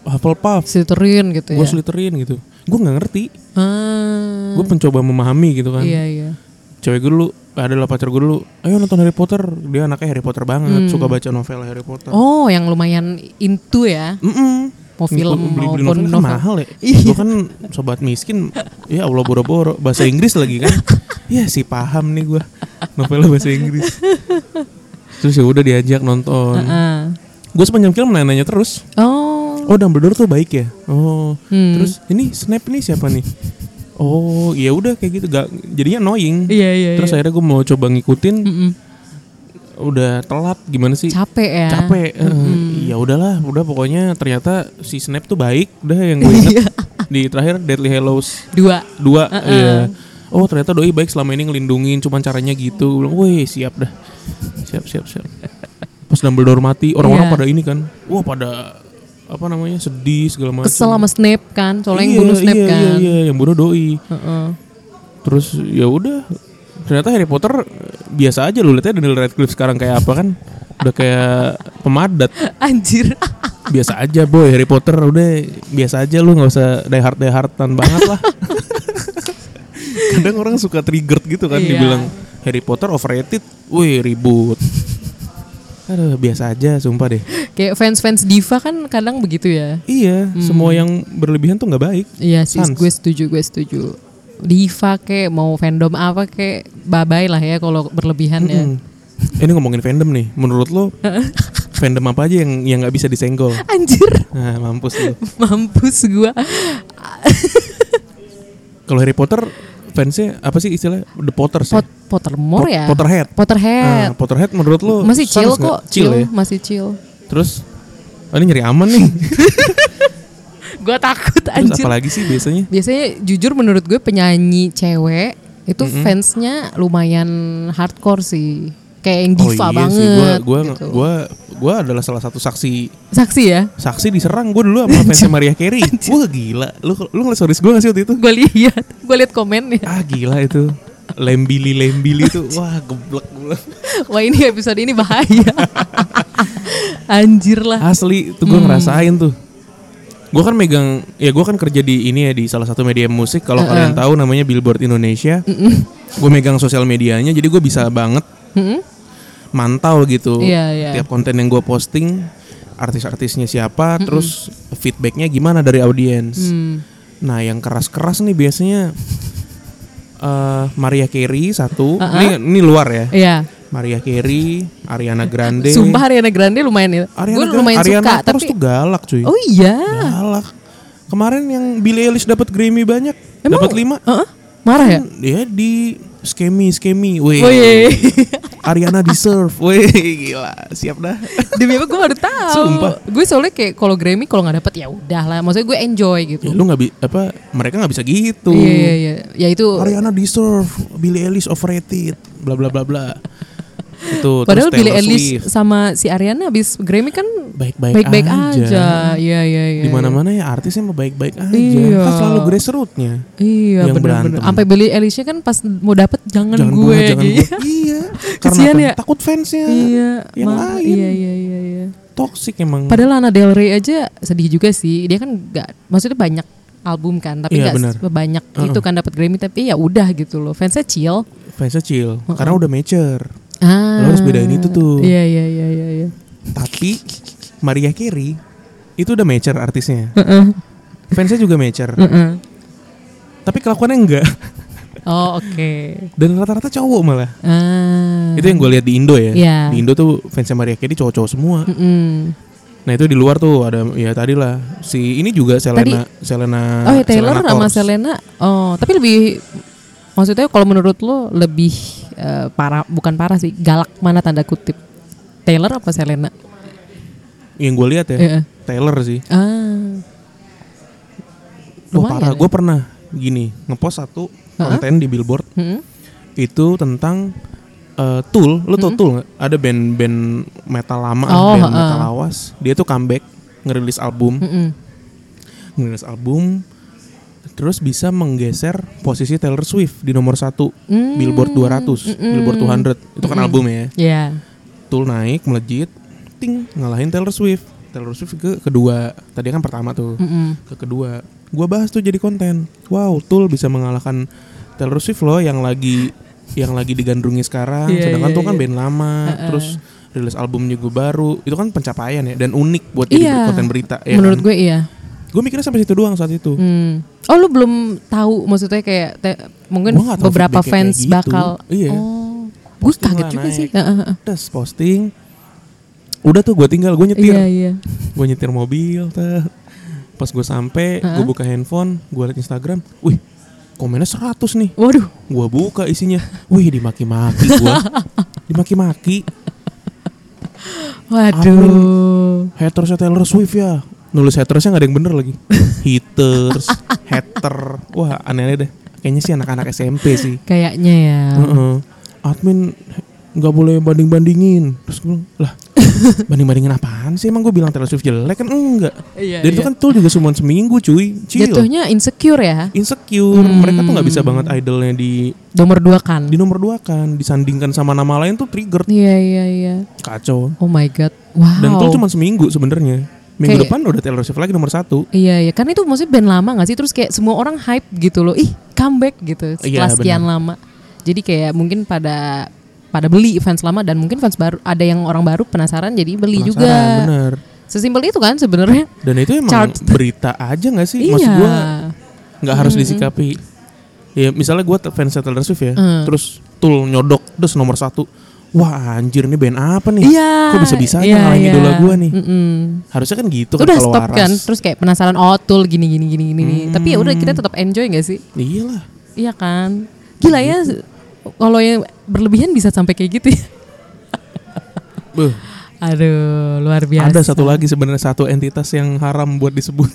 Speaker 2: Hufflepuff,
Speaker 1: Slytherin gitu ya.
Speaker 2: gue Slytherin gitu. Gue nggak ngerti,
Speaker 1: Ah,
Speaker 2: gue mencoba memahami gitu kan.
Speaker 1: iya iya.
Speaker 2: Cewek gue dulu adalah pacar gue dulu, ayo nonton Harry Potter. Dia anaknya Harry Potter banget, suka baca novel Harry
Speaker 1: Mm.
Speaker 2: Potter.
Speaker 1: Oh, yang lumayan into ya.
Speaker 2: Mm-mm.
Speaker 1: Mau film
Speaker 2: beli, beli
Speaker 1: maupun
Speaker 2: novel, kan
Speaker 1: novel.
Speaker 2: mahal ya.
Speaker 1: Iya.
Speaker 2: Gua kan sobat miskin, ya Allah boro-boro bahasa Inggris lagi kan. ya sih paham nih gua novelnya bahasa Inggris. Terus ya udah diajak nonton.
Speaker 1: Ah.
Speaker 2: Gue sepanjang film nanya-nanya terus.
Speaker 1: Oh,
Speaker 2: Oh Dumbledore tuh baik ya. Oh.
Speaker 1: Hmm.
Speaker 2: Terus ini Snape nih siapa nih? Oh ya udah kayak gitu. Gak jadinya annoying.
Speaker 1: Iya, iya,
Speaker 2: Terus
Speaker 1: iya. Hmm.
Speaker 2: akhirnya gue mau coba ngikutin. Udah telat gimana sih?
Speaker 1: capek ya.
Speaker 2: capek eh, ya udahlah udah pokoknya ternyata si Snap tuh baik udah yang gue
Speaker 1: Iya.
Speaker 2: inget di terakhir Deadly Hallows
Speaker 1: Dua.
Speaker 2: dua iya. oh ternyata doi baik selama ini ngelindungin cuman caranya gitu Gua bilang wih siap dah siap siap siap pas Dumbledore mati orang-orang
Speaker 1: Iya.
Speaker 2: pada ini kan wah pada apa namanya sedih segala macam
Speaker 1: Kesel sama Snape kan, soalnya yang
Speaker 2: Iya,
Speaker 1: bunuh Snape
Speaker 2: iya,
Speaker 1: kan.
Speaker 2: iya, iya, yang bunuh doi
Speaker 1: Heeh.
Speaker 2: terus ya udah ternyata Harry Potter eh, biasa aja lu lihatnya Daniel Radcliffe sekarang kayak apa kan udah kayak pemadat
Speaker 1: Anjir.
Speaker 2: biasa aja boy Harry Potter udah biasa aja lu nggak usah die hard die hardan banget lah kadang orang suka triggered gitu kan
Speaker 1: Iya.
Speaker 2: dibilang Harry Potter overrated wih ribut aduh biasa aja sumpah deh
Speaker 1: Kayak fans-fans diva kan kadang begitu ya.
Speaker 2: iya semua yang berlebihan tuh nggak baik
Speaker 1: Iya sih,
Speaker 2: Sans.
Speaker 1: gue setuju, gue setuju. Diva kek, mau fandom apa kek, bye-bye lah ya kalau berlebihan ya.
Speaker 2: Mm. ini ngomongin fandom nih menurut lo fandom apa aja yang yang nggak bisa disenggol
Speaker 1: Anjir,
Speaker 2: nah mampus lu
Speaker 1: mampus gue.
Speaker 2: kalau Harry Potter fansnya apa sih istilah The Potters ya?
Speaker 1: Pot Pottermore
Speaker 2: Pot-
Speaker 1: ya?
Speaker 2: Potterhead.
Speaker 1: Potterhead.
Speaker 2: Nah, Potterhead menurut lo
Speaker 1: masih
Speaker 2: sans
Speaker 1: chill
Speaker 2: nggak?
Speaker 1: kok,
Speaker 2: chill, ya?
Speaker 1: masih chill.
Speaker 2: Terus oh ini nyari aman nih.
Speaker 1: Gue takut
Speaker 2: Terus
Speaker 1: anjir.
Speaker 2: apalagi sih biasanya?
Speaker 1: Biasanya jujur menurut gue penyanyi cewek itu fansnya lumayan hardcore sih. Kayak yang diva banget
Speaker 2: Oh iya sih, gua gua
Speaker 1: gitu.
Speaker 2: gua gua adalah salah satu saksi
Speaker 1: Saksi ya?
Speaker 2: saksi diserang gue dulu sama fansnya Maria Carey. Wah gila. Lu lu ngeliat stories gue gak sih waktu itu?
Speaker 1: Gue lihat, gue lihat ya. komennya.
Speaker 2: Ah gila itu. Lembili lembili itu. Wah geblek gua.
Speaker 1: Wah ini episode ini bahaya. Anjir lah.
Speaker 2: Asli itu gue
Speaker 1: Hmm.
Speaker 2: ngerasain tuh. Gue kan megang ya gue kan kerja di ini ya di salah satu media musik kalau kalian tahu namanya Billboard Indonesia. Gue megang sosial medianya jadi gue bisa banget
Speaker 1: Mm-mm.
Speaker 2: mantau gitu
Speaker 1: Iya, iya.
Speaker 2: tiap konten yang gue posting artis-artisnya siapa terus feedbacknya gimana dari audiens
Speaker 1: Mm. Hmm,
Speaker 2: nah yang keras-keras nih biasanya eh Maria Carey satu ini ini luar ya
Speaker 1: Uh-huh. Iya.
Speaker 2: Maria Carey Ariana Grande
Speaker 1: Sumpah Ariana Grande lumayan ya.
Speaker 2: Ariana
Speaker 1: Gue
Speaker 2: Grande-
Speaker 1: lumayan
Speaker 2: Ariana
Speaker 1: suka
Speaker 2: terus
Speaker 1: tapi
Speaker 2: tuh Nah. galak cuy
Speaker 1: Oh iya.
Speaker 2: galak kemarin yang Billie Eilish dapat Grammy banyak
Speaker 1: Emang-
Speaker 2: dapat lima Kan
Speaker 1: Heeh. Marah ya? Oh, iya,
Speaker 2: dia di skemi skemi weh
Speaker 1: Woi.
Speaker 2: Ariana deserve weh gila siap dah
Speaker 1: Demi apa gue baru tahu.
Speaker 2: Sumpah.
Speaker 1: Gue soalnya kayak kalau Grammy kalau nggak dapet ya udah lah. Maksudnya gue enjoy gitu.
Speaker 2: ya lu nggak bi- apa mereka nggak bisa gitu
Speaker 1: Iya iya iya. Ya itu
Speaker 2: Ariana deserve Billie Eilish overrated bla bla bla bla itu
Speaker 1: padahal
Speaker 2: terus
Speaker 1: Billie
Speaker 2: Taylor
Speaker 1: Eilish
Speaker 2: Swift,
Speaker 1: sama si Ariana habis Grammy kan
Speaker 2: Baik-baik
Speaker 1: baik-baik
Speaker 2: aja.
Speaker 1: aja. Iya iya iya.
Speaker 2: di mana mana ya artisnya mau baik baik aja
Speaker 1: Iya.
Speaker 2: kan selalu grace rootnya
Speaker 1: Iya benar-benar.
Speaker 2: Yang berantem.
Speaker 1: Sampai Billie Eilishnya kan pas mau dapet jangan,
Speaker 2: jangan
Speaker 1: gue.
Speaker 2: gue jangan
Speaker 1: gitu.
Speaker 2: gue iya karena
Speaker 1: Kesian
Speaker 2: apa?
Speaker 1: ya.
Speaker 2: takut fansnya
Speaker 1: Iya.
Speaker 2: yang
Speaker 1: ma-
Speaker 2: lain
Speaker 1: Iya iya iya iya.
Speaker 2: toxic emang
Speaker 1: Padahal Lana Del Rey aja sedih juga sih. Dia kan nggak, maksudnya banyak album kan, tapi
Speaker 2: Iya,
Speaker 1: nggak
Speaker 2: benar.
Speaker 1: banyak itu kan dapat Grammy. Tapi ya udah gitu loh. Fansnya chill.
Speaker 2: fansnya chill karena udah mature
Speaker 1: Ah.
Speaker 2: Lo harus bedain itu tuh.
Speaker 1: Iya iya iya iya. iya.
Speaker 2: tapi Maria Carey itu udah mature artisnya fansnya juga mature tapi kelakuannya enggak
Speaker 1: Oh oke.
Speaker 2: dan rata-rata cowok malah
Speaker 1: Ah.
Speaker 2: Itu yang gue lihat di Indo ya.
Speaker 1: Iya.
Speaker 2: Di Indo tuh fansnya Maria Carey cowok-cowok semua.
Speaker 1: Mm.
Speaker 2: Nah itu di luar tuh ada ya tadi lah si ini juga Selena Selena.
Speaker 1: Oh ya Taylor
Speaker 2: Nah, Selena
Speaker 1: sama
Speaker 2: Torres.
Speaker 1: Selena. Oh tapi lebih maksudnya kalau menurut lo lebih eh, parah bukan parah sih galak mana tanda kutip Taylor apa Selena?
Speaker 2: Yang gue lihat ya
Speaker 1: Iya.
Speaker 2: Taylor sih.
Speaker 1: Ah.
Speaker 2: Wah
Speaker 1: Lumayan
Speaker 2: parah.
Speaker 1: ya.
Speaker 2: Gue pernah gini ngepost satu konten di Billboard
Speaker 1: Mm-mm.
Speaker 2: itu tentang eh, Tool. Lo tau Tool nggak? Ada band-band metal lama,
Speaker 1: Hmm. Oh,
Speaker 2: band
Speaker 1: ha-ha.
Speaker 2: metal lawas. Dia tuh comeback ngerilis album,
Speaker 1: Mm-mm.
Speaker 2: ngerilis album. terus bisa menggeser posisi Taylor Swift di nomor satu
Speaker 1: Hmm,
Speaker 2: Billboard 200 Billboard 200 itu kan album ya
Speaker 1: Ya.
Speaker 2: Tool naik melejit ting ngalahin Taylor Swift Taylor Swift ke kedua tadi kan pertama tuh
Speaker 1: Hmm.
Speaker 2: ke kedua gua bahas tuh jadi konten wow Tool bisa mengalahkan Taylor Swift loh yang lagi yang lagi digandrungi sekarang
Speaker 1: Iya,
Speaker 2: sedangkan
Speaker 1: iya,
Speaker 2: tuh kan
Speaker 1: iya.
Speaker 2: band lama terus rilis albumnya gue baru itu kan pencapaian ya dan unik buat jadi
Speaker 1: Iya.
Speaker 2: konten berita ya
Speaker 1: Menurut gue iya.
Speaker 2: gue mikirnya sampai situ doang saat itu
Speaker 1: Hmm. Oh lu belum tahu maksudnya kayak te- mungkin
Speaker 2: Gua nggak tahu
Speaker 1: beberapa
Speaker 2: feedbacknya kayak
Speaker 1: fans
Speaker 2: gitu.
Speaker 1: bakal.
Speaker 2: Iya. ya?
Speaker 1: Oh. Gue
Speaker 2: Posting
Speaker 1: kaget
Speaker 2: lah
Speaker 1: juga
Speaker 2: naik.
Speaker 1: sih. Heeh, heeh.
Speaker 2: Terus posting udah tuh gue tinggal gue nyetir
Speaker 1: Iya iya.
Speaker 2: gue nyetir mobil tuh. pas gue sampai gue buka handphone gue liat Instagram wih komennya 100 nih
Speaker 1: Waduh.
Speaker 2: gue buka isinya wih dimaki-maki gue dimaki-maki
Speaker 1: Waduh.
Speaker 2: hatersnya Taylor Swift ya nulis hatersnya nggak ada yang bener lagi haters hater wah aneh-aneh deh kayaknya sih anak-anak SMP sih
Speaker 1: Kayaknya ya.
Speaker 2: Heeh. admin nggak boleh banding bandingin terus gue bilang, lah banding bandingin apaan sih emang gue bilang Taylor Swift jelek kan enggak
Speaker 1: Iya,
Speaker 2: dan itu
Speaker 1: iya.
Speaker 2: kan tuh juga cuma seminggu cuy chill
Speaker 1: Jatuhnya insecure ya.
Speaker 2: insecure mereka tuh nggak bisa banget idolnya di
Speaker 1: Nomor dua kan.
Speaker 2: di nomor dua kan disandingkan sama nama lain tuh trigger
Speaker 1: Iya iya iya.
Speaker 2: kacau
Speaker 1: Oh my god. Wow.
Speaker 2: dan tuh cuma seminggu sebenarnya minggu
Speaker 1: Kayak-
Speaker 2: depan udah Taylor Swift lagi nomor satu
Speaker 1: Iya iya. Karena itu maksudnya band lama gak sih? Terus kayak semua orang hype gitu loh. Ih comeback gitu. Setelah
Speaker 2: Iya,
Speaker 1: sekian lama. Jadi kayak mungkin pada pada beli fans lama dan mungkin fans baru ada yang orang baru penasaran jadi beli
Speaker 2: Penasaran,
Speaker 1: Iya juga.
Speaker 2: bener
Speaker 1: Sesimpel itu kan sebenarnya.
Speaker 2: dan itu emang
Speaker 1: Chart.
Speaker 2: berita aja nggak sih maksud
Speaker 1: Iya.
Speaker 2: gue nggak harus disikapi ya misalnya gue fans Taylor Swift ya
Speaker 1: Mm.
Speaker 2: terus Tool nyodok terus nomor satu wah anjir nih band apa nih
Speaker 1: Iya.
Speaker 2: kok bisa bisanya
Speaker 1: Iya,
Speaker 2: ngalahin
Speaker 1: iya.
Speaker 2: idola gue nih
Speaker 1: Mm-mm.
Speaker 2: harusnya kan gitu
Speaker 1: Udah
Speaker 2: kalau
Speaker 1: stop
Speaker 2: waras.
Speaker 1: kan. Terus kayak penasaran oh tool gini gini gini gini. Tapi ya udah
Speaker 2: Hmm.
Speaker 1: kita tetap enjoy gak sih?
Speaker 2: iyalah
Speaker 1: Iya kan. Gila ya. Kalau yang berlebihan bisa sampai kayak gitu ya.
Speaker 2: Beuh,
Speaker 1: Aduh, luar biasa.
Speaker 2: ada satu lagi sebenarnya satu entitas yang haram buat disebut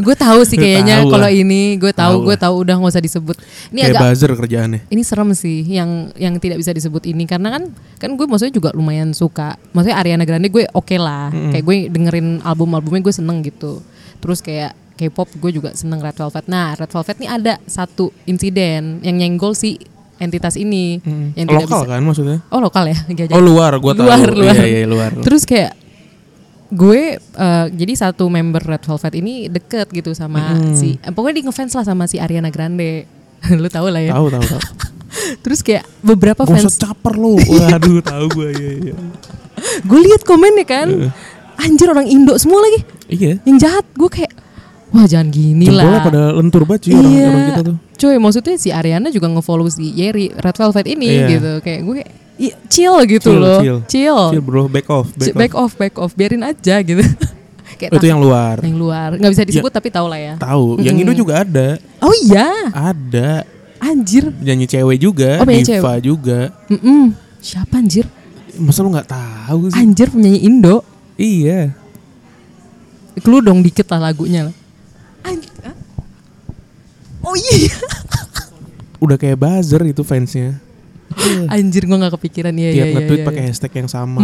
Speaker 1: Gue tahu sih
Speaker 2: Lu
Speaker 1: kayaknya
Speaker 2: tahu
Speaker 1: kalau
Speaker 2: lah.
Speaker 1: ini gue
Speaker 2: Tahu
Speaker 1: tahu, gue
Speaker 2: lah.
Speaker 1: tahu udah nggak usah disebut. Ini
Speaker 2: kayak
Speaker 1: agak
Speaker 2: buzzer kerjaannya
Speaker 1: ini serem sih yang yang tidak bisa disebut ini karena kan kan gue maksudnya juga lumayan suka. Maksudnya Ariana Grande gue oke lah. Kayak gue dengerin album-albumnya gue seneng gitu. Terus kayak K-pop gue juga seneng Red Velvet. Nah, Red Velvet nih ada satu insiden yang nyenggol si entitas ini Hmm, yang tidak
Speaker 2: lokal
Speaker 1: bisa.
Speaker 2: kan maksudnya
Speaker 1: Oh, lokal ya? Gak
Speaker 2: oh luar gue tahu
Speaker 1: luar, luar.
Speaker 2: iya iya luar
Speaker 1: Terus kayak gue eh, jadi satu member Red Velvet ini deket gitu sama si eh, pokoknya di ngefans lah sama si Ariana Grande. Lu tau lah ya.
Speaker 2: tahu tahu tahu
Speaker 1: Terus kayak beberapa
Speaker 2: Gak usah
Speaker 1: fans
Speaker 2: caper lu Waduh tahu gue iya iya
Speaker 1: gue lihat komennya kan. Anjir orang Indo semua lagi
Speaker 2: Iya
Speaker 1: yang jahat. Gue kayak wah jangan gini
Speaker 2: Jempolnya
Speaker 1: lah. Iya.
Speaker 2: pada lentur banget sih orang, orang kita tuh
Speaker 1: Cuy, maksudnya si Ariana juga ngefollow si Yeri Red Velvet ini
Speaker 2: Iya.
Speaker 1: gitu. Kayak gue kayak, "Ih, chill gitu
Speaker 2: Chill,
Speaker 1: loh.
Speaker 2: chill. Chill bro back off
Speaker 1: Back, off. back off, biarin aja gitu. kayak
Speaker 2: Oh, itu yang luar
Speaker 1: yang luar nggak bisa disebut tapi tau lah ya
Speaker 2: tahu yang Indo juga ada
Speaker 1: oh iya
Speaker 2: ada
Speaker 1: anjir
Speaker 2: nyanyi cewek juga
Speaker 1: Oh, penyanyi
Speaker 2: diva
Speaker 1: cewek.
Speaker 2: juga
Speaker 1: Mm-mm. siapa anjir
Speaker 2: masa lu nggak tahu sih
Speaker 1: anjir penyanyi Indo
Speaker 2: iya
Speaker 1: lu dong dikit lah lagunya lah An- Hah? oh iya
Speaker 2: udah kayak buzzer itu fansnya
Speaker 1: anjir gua nggak kepikiran iya iya
Speaker 2: tiap
Speaker 1: iya,
Speaker 2: nge-tweet
Speaker 1: iya,
Speaker 2: pakai
Speaker 1: iya. Hmm.
Speaker 2: hashtag yang sama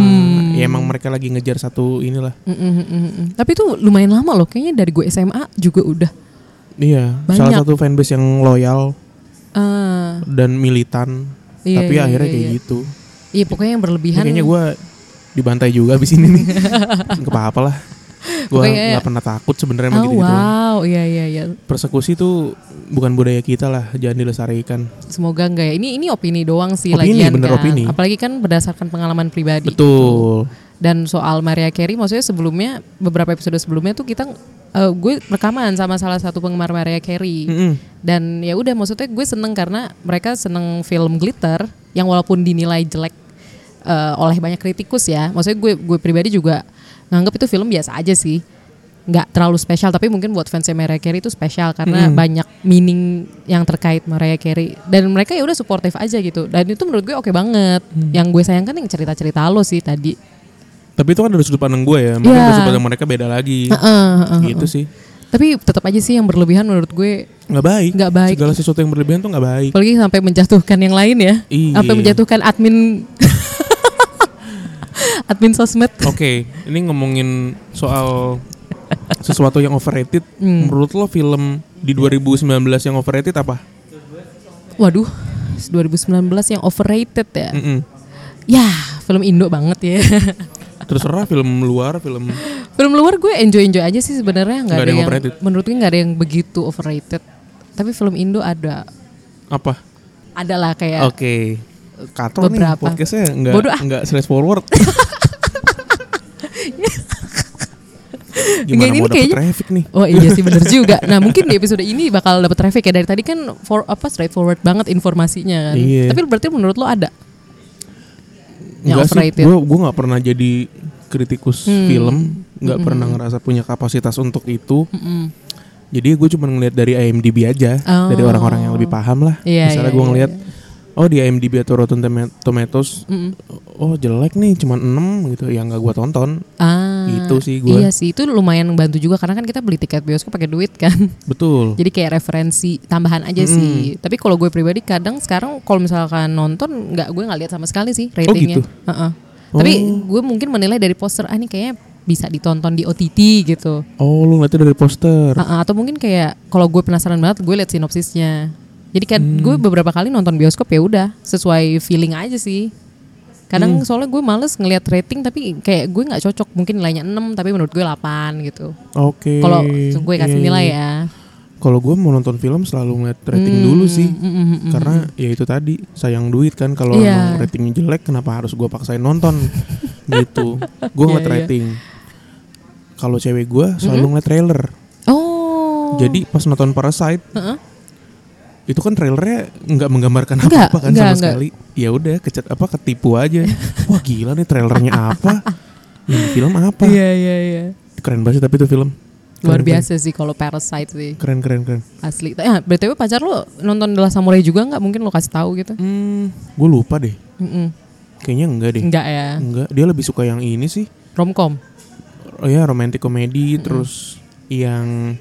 Speaker 2: ya emang mereka lagi ngejar satu inilah
Speaker 1: Mm-mm, mm-mm, mm-mm. Mm. tapi itu lumayan lama loh kayaknya dari gue SMA juga udah
Speaker 2: iya
Speaker 1: Banyak.
Speaker 2: salah satu fanbase yang loyal
Speaker 1: Ah,
Speaker 2: dan militan
Speaker 1: Iya,
Speaker 2: tapi
Speaker 1: iya,
Speaker 2: akhirnya
Speaker 1: iya,
Speaker 2: kayak
Speaker 1: iya.
Speaker 2: gitu
Speaker 1: iya pokoknya yang
Speaker 2: Ya,
Speaker 1: berlebihan
Speaker 2: kayaknya gue dibantai juga abis ini nih nggak apa-apa lah gue
Speaker 1: Pokoknya- ya.
Speaker 2: nggak pernah takut sebenarnya
Speaker 1: oh
Speaker 2: gitu
Speaker 1: wow iya iya iya
Speaker 2: persekusi tuh bukan budaya kita lah jangan dilestarikan
Speaker 1: semoga enggak ya ini ini opini doang sih
Speaker 2: Opini,
Speaker 1: lagian
Speaker 2: bener
Speaker 1: kan
Speaker 2: opini.
Speaker 1: apalagi kan berdasarkan pengalaman pribadi
Speaker 2: betul
Speaker 1: dan soal Maria Carey maksudnya sebelumnya beberapa episode sebelumnya tuh kita eh, gue rekaman sama salah satu penggemar Maria Carey
Speaker 2: Mm-mm.
Speaker 1: dan ya udah maksudnya gue seneng karena mereka seneng film Glitter yang walaupun dinilai jelek eh, oleh banyak kritikus ya maksudnya gue gue pribadi juga nganggap itu film biasa aja sih nggak terlalu spesial tapi mungkin buat fansnya Mariah Carey itu spesial karena banyak meaning yang terkait Mariah Carey dan mereka ya udah suportif aja gitu dan itu menurut gue oke banget yang gue sayangkan yang cerita-cerita lo sih tadi
Speaker 2: tapi itu kan dari sudut pandang gue ya mungkin
Speaker 1: Iya.
Speaker 2: dari sudut pandang mereka beda lagi gitu sih
Speaker 1: Tapi tetap aja sih yang berlebihan menurut gue
Speaker 2: nggak baik
Speaker 1: Nggak baik.
Speaker 2: segala sesuatu yang berlebihan tuh nggak baik
Speaker 1: apalagi sampai menjatuhkan yang lain ya.
Speaker 2: Iya.
Speaker 1: Sampai menjatuhkan admin admin sosmed.
Speaker 2: oke
Speaker 1: Hmm.
Speaker 2: ini ngomongin soal sesuatu yang overrated menurut lo film Di 2019 yang overrated apa?
Speaker 1: Waduh, 2019 yang overrated ya.
Speaker 2: Mm-mm.
Speaker 1: Ya, film Indo banget ya.
Speaker 2: Terus serah film luar, film
Speaker 1: film luar gue enjoy-enjoy aja sih sebenarnya nggak
Speaker 2: Nggak
Speaker 1: ada
Speaker 2: ada yang
Speaker 1: yang,
Speaker 2: overrated.
Speaker 1: menurut gue nggak ada yang begitu overrated. Tapi film Indo ada
Speaker 2: apa?
Speaker 1: ada lah kayak
Speaker 2: Oke. Kato
Speaker 1: Ya.
Speaker 2: nih
Speaker 1: Beberapa.
Speaker 2: podcastnya nggak
Speaker 1: Bodoh ah.
Speaker 2: nggak straightforward.
Speaker 1: Nggak,
Speaker 2: Gimana
Speaker 1: ini
Speaker 2: mau dapet
Speaker 1: kayaknya-
Speaker 2: traffic nih?
Speaker 1: Oh iya sih bener juga. Nah mungkin di episode ini bakal dapet traffic ya dari tadi kan for apa straightforward banget informasinya kan.
Speaker 2: Iya.
Speaker 1: Tapi berarti menurut lo ada yang
Speaker 2: Enggak sih,
Speaker 1: overrated. Hmm.
Speaker 2: gue gue nggak pernah jadi kritikus film, nggak pernah ngerasa punya kapasitas untuk itu. Jadi gue cuma ngelihat dari IMDb aja,
Speaker 1: Hmm. Oh.
Speaker 2: dari orang-orang yang lebih paham lah.
Speaker 1: Iya, iya, iya,
Speaker 2: Misalnya gue
Speaker 1: Hmm.
Speaker 2: ngelihat, oh di IMDb atau Rotten Toma- Tomatoes, oh jelek nih, cuma 6 gitu, yang nggak gue tonton.
Speaker 1: Ah,
Speaker 2: Gitu sih gua.
Speaker 1: Iya sih itu lumayan bantu juga karena kan kita beli tiket bioskop pakai duit kan.
Speaker 2: Betul.
Speaker 1: Jadi kayak referensi tambahan aja sih. Tapi kalau gue pribadi kadang sekarang kalau misalkan nonton nggak gue nggak lihat sama sekali sih ratingnya.
Speaker 2: gitu? Oh.
Speaker 1: Heeh. Tapi gue mungkin menilai dari poster ah ini kayaknya bisa ditonton di OTT gitu.
Speaker 2: Oh lu ngeliatnya dari poster.
Speaker 1: Heeh, atau mungkin kayak kalau gue penasaran banget gue lihat sinopsisnya. Jadi kayak
Speaker 2: Hmm.
Speaker 1: gue beberapa kali nonton bioskop ya udah sesuai feeling aja sih.
Speaker 2: Hmm.
Speaker 1: Kadang soalnya gue males ngelihat rating tapi kayak gue nggak cocok mungkin nilainya 6 tapi menurut gue 8 gitu.
Speaker 2: Oke.
Speaker 1: Kalau gue kasih
Speaker 2: Iya,
Speaker 1: nilai
Speaker 2: iya.
Speaker 1: ya.
Speaker 2: Kalau gue mau nonton film selalu ngeliat rating
Speaker 1: Hmm,
Speaker 2: dulu sih, karena ya itu tadi sayang duit kan kalau
Speaker 1: Iya.
Speaker 2: emang ratingnya jelek kenapa harus gue paksain nonton gitu. Gue ngeliat
Speaker 1: Iya, iya.
Speaker 2: rating. Kalau cewek gue selalu ngeliat trailer.
Speaker 1: Oh.
Speaker 2: Jadi pas nonton Parasite
Speaker 1: Heeh.
Speaker 2: itu kan trailernya nggak menggambarkan
Speaker 1: Nggak,
Speaker 2: apa-apa kan
Speaker 1: nggak,
Speaker 2: sama
Speaker 1: nggak.
Speaker 2: sekali. Ya udah kecet apa ketipu aja. Wah gila nih trailernya apa? Ini film apa?
Speaker 1: Iya iya iya.
Speaker 2: Keren banget sih tapi itu film.
Speaker 1: Luar
Speaker 2: Keren,
Speaker 1: biasa sih kalau Parasite sih
Speaker 2: Keren keren keren.
Speaker 1: asli. Tapi, Ah, btw pacar lo nonton The Last Samurai juga nggak? Mungkin lo kasih tahu gitu?
Speaker 2: Hmm, gue lupa deh.
Speaker 1: Mm-mm.
Speaker 2: Kayaknya enggak deh.
Speaker 1: Nggak ya.
Speaker 2: Enggak, dia lebih suka yang ini sih.
Speaker 1: Romcom.
Speaker 2: Oh ya, romantic comedy terus yang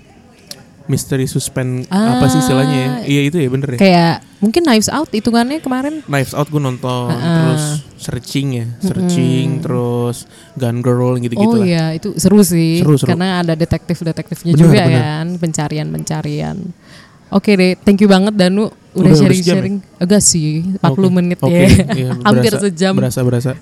Speaker 2: misteri suspense
Speaker 1: Ah.
Speaker 2: apa sih istilahnya ya? Iya itu ya bener ya.
Speaker 1: Kayak mungkin Knives Out hitungannya kemarin.
Speaker 2: Knives Out gue nonton terus searching ya, searching terus Gun Girl
Speaker 1: oh
Speaker 2: gitu-gitu lah.
Speaker 1: iya itu seru sih.
Speaker 2: Seru, seru.
Speaker 1: Karena ada detektif-detektifnya
Speaker 2: Benar,
Speaker 1: juga
Speaker 2: benar.
Speaker 1: kan. Pencarian-pencarian. Oke deh, thank you banget Danu udah
Speaker 2: Udah, udah
Speaker 1: sharing-sharing. Agak sih, 40
Speaker 2: Oke,
Speaker 1: menit
Speaker 2: oke,
Speaker 1: ya.
Speaker 2: iya,
Speaker 1: Hampir
Speaker 2: berasa-
Speaker 1: sejam.
Speaker 2: Berasa-berasa.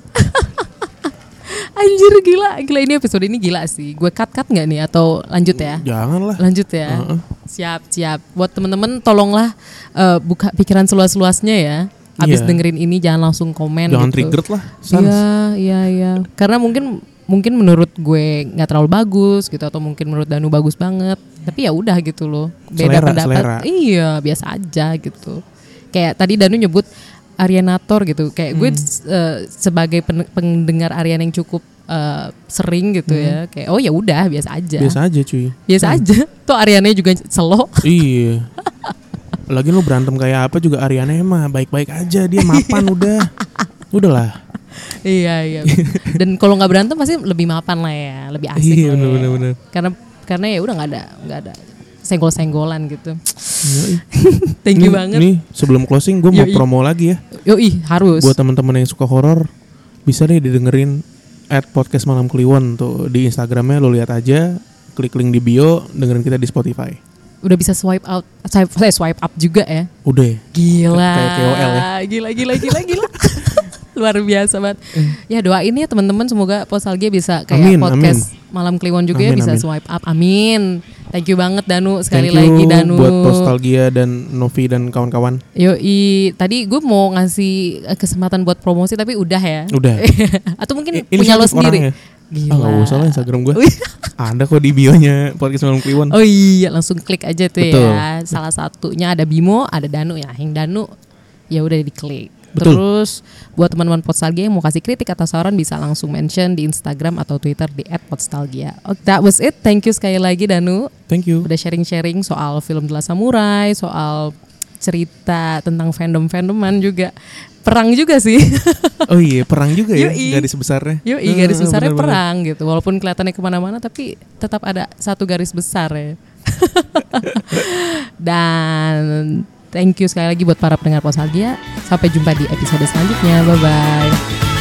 Speaker 1: Anjir gila, gila ini episode ini gila sih. Gue cut-cut nggak nih atau lanjut ya?
Speaker 2: Jangan lah.
Speaker 1: Lanjut ya.
Speaker 2: Heeh.
Speaker 1: Siap, siap. Buat temen-temen tolonglah eh, buka pikiran seluas-luasnya ya. Abis
Speaker 2: Iya.
Speaker 1: dengerin ini jangan langsung komen
Speaker 2: Jangan
Speaker 1: gitu.
Speaker 2: triggered lah. Sans.
Speaker 1: Iya, iya, iya. Karena mungkin mungkin menurut gue nggak terlalu bagus gitu atau mungkin menurut Danu bagus banget. Tapi ya udah gitu loh. Beda
Speaker 2: Selera,
Speaker 1: pendapat.
Speaker 2: selera.
Speaker 1: Iya, biasa aja gitu. Kayak tadi Danu nyebut Arianator gitu. Kayak
Speaker 2: Hmm.
Speaker 1: gue eh, sebagai pen- pendengar Arian yang cukup eh, sering gitu ya. Kayak oh ya udah biasa aja.
Speaker 2: Hmm. Biasa Hmm. aja cuy.
Speaker 1: Biasa aja. Tuh Ariane juga selo.
Speaker 2: iya. Lagi lu berantem kayak apa juga Ariana mah baik-baik aja dia mapan udah. Udahlah.
Speaker 1: iya iya. Dan kalau nggak berantem pasti lebih mapan lah ya, lebih asik.
Speaker 2: Iya,
Speaker 1: lah ya.
Speaker 2: bener, bener, bener.
Speaker 1: Karena karena ya udah nggak ada nggak ada senggol-senggolan gitu.
Speaker 2: Yoi.
Speaker 1: Thank you
Speaker 2: Nih-
Speaker 1: banget.
Speaker 2: Nih sebelum closing gue mau
Speaker 1: Yoi.
Speaker 2: promo lagi ya
Speaker 1: Yoi harus.
Speaker 2: buat teman-teman yang suka horor bisa deh didengerin at podcast malam kliwon tuh di Instagramnya lo lihat aja klik link di bio dengerin kita di Spotify.
Speaker 1: udah bisa swipe out, swipe, saya swipe up juga ya.
Speaker 2: Udah. ya?
Speaker 1: Gila.
Speaker 2: Kayak KOL ya.
Speaker 1: Gila gila gila gila. Luar biasa banget. Ya doain ya teman-teman semoga Posalgia bisa kayak
Speaker 2: Eh. Amin,
Speaker 1: podcast malam Kliwon juga ya
Speaker 2: Amin,
Speaker 1: bisa
Speaker 2: amin.
Speaker 1: swipe up. Amin. Thank you banget Danu sekali
Speaker 2: Thank
Speaker 1: lagi
Speaker 2: you
Speaker 1: Danu.
Speaker 2: buat Nostalgia dan Novi dan kawan-kawan.
Speaker 1: Yoi, tadi gue mau ngasih eh, kesempatan buat promosi tapi udah ya.
Speaker 2: Udah.
Speaker 1: Atau mungkin
Speaker 2: I-
Speaker 1: punya lo
Speaker 2: inisiatif
Speaker 1: sendiri.
Speaker 2: orangnya. Ah nggak usah lah Instagram gue. Ada kok di bionya podcast malam kliwon.
Speaker 1: iya. Oh iya, langsung klik aja tuh
Speaker 2: Betul.
Speaker 1: ya. Salah satunya ada Bimo, ada Danu ya. Yang Danu ya udah diklik.
Speaker 2: Betul.
Speaker 1: Terus buat teman-teman Podstalgia yang mau kasih kritik atau saran bisa langsung mention di Instagram atau Twitter di @podstalgia. Oh, that was it. Thank you sekali lagi Danu.
Speaker 2: Thank you.
Speaker 1: iya. Udah sharing-sharing soal film The Last Samurai, soal cerita tentang fandom-fandoman juga. Perang juga sih.
Speaker 2: Oh iya perang juga ya
Speaker 1: Yoi.
Speaker 2: garis besarnya.
Speaker 1: Yoi, garis
Speaker 2: Ah,
Speaker 1: besarnya
Speaker 2: bener-bener.
Speaker 1: perang gitu. Walaupun kelihatannya kemana-mana, tapi tetap ada satu garis besar ya. Dan thank you sekali lagi buat para pendengar Posalgia. Sampai jumpa di episode selanjutnya. Bye-bye.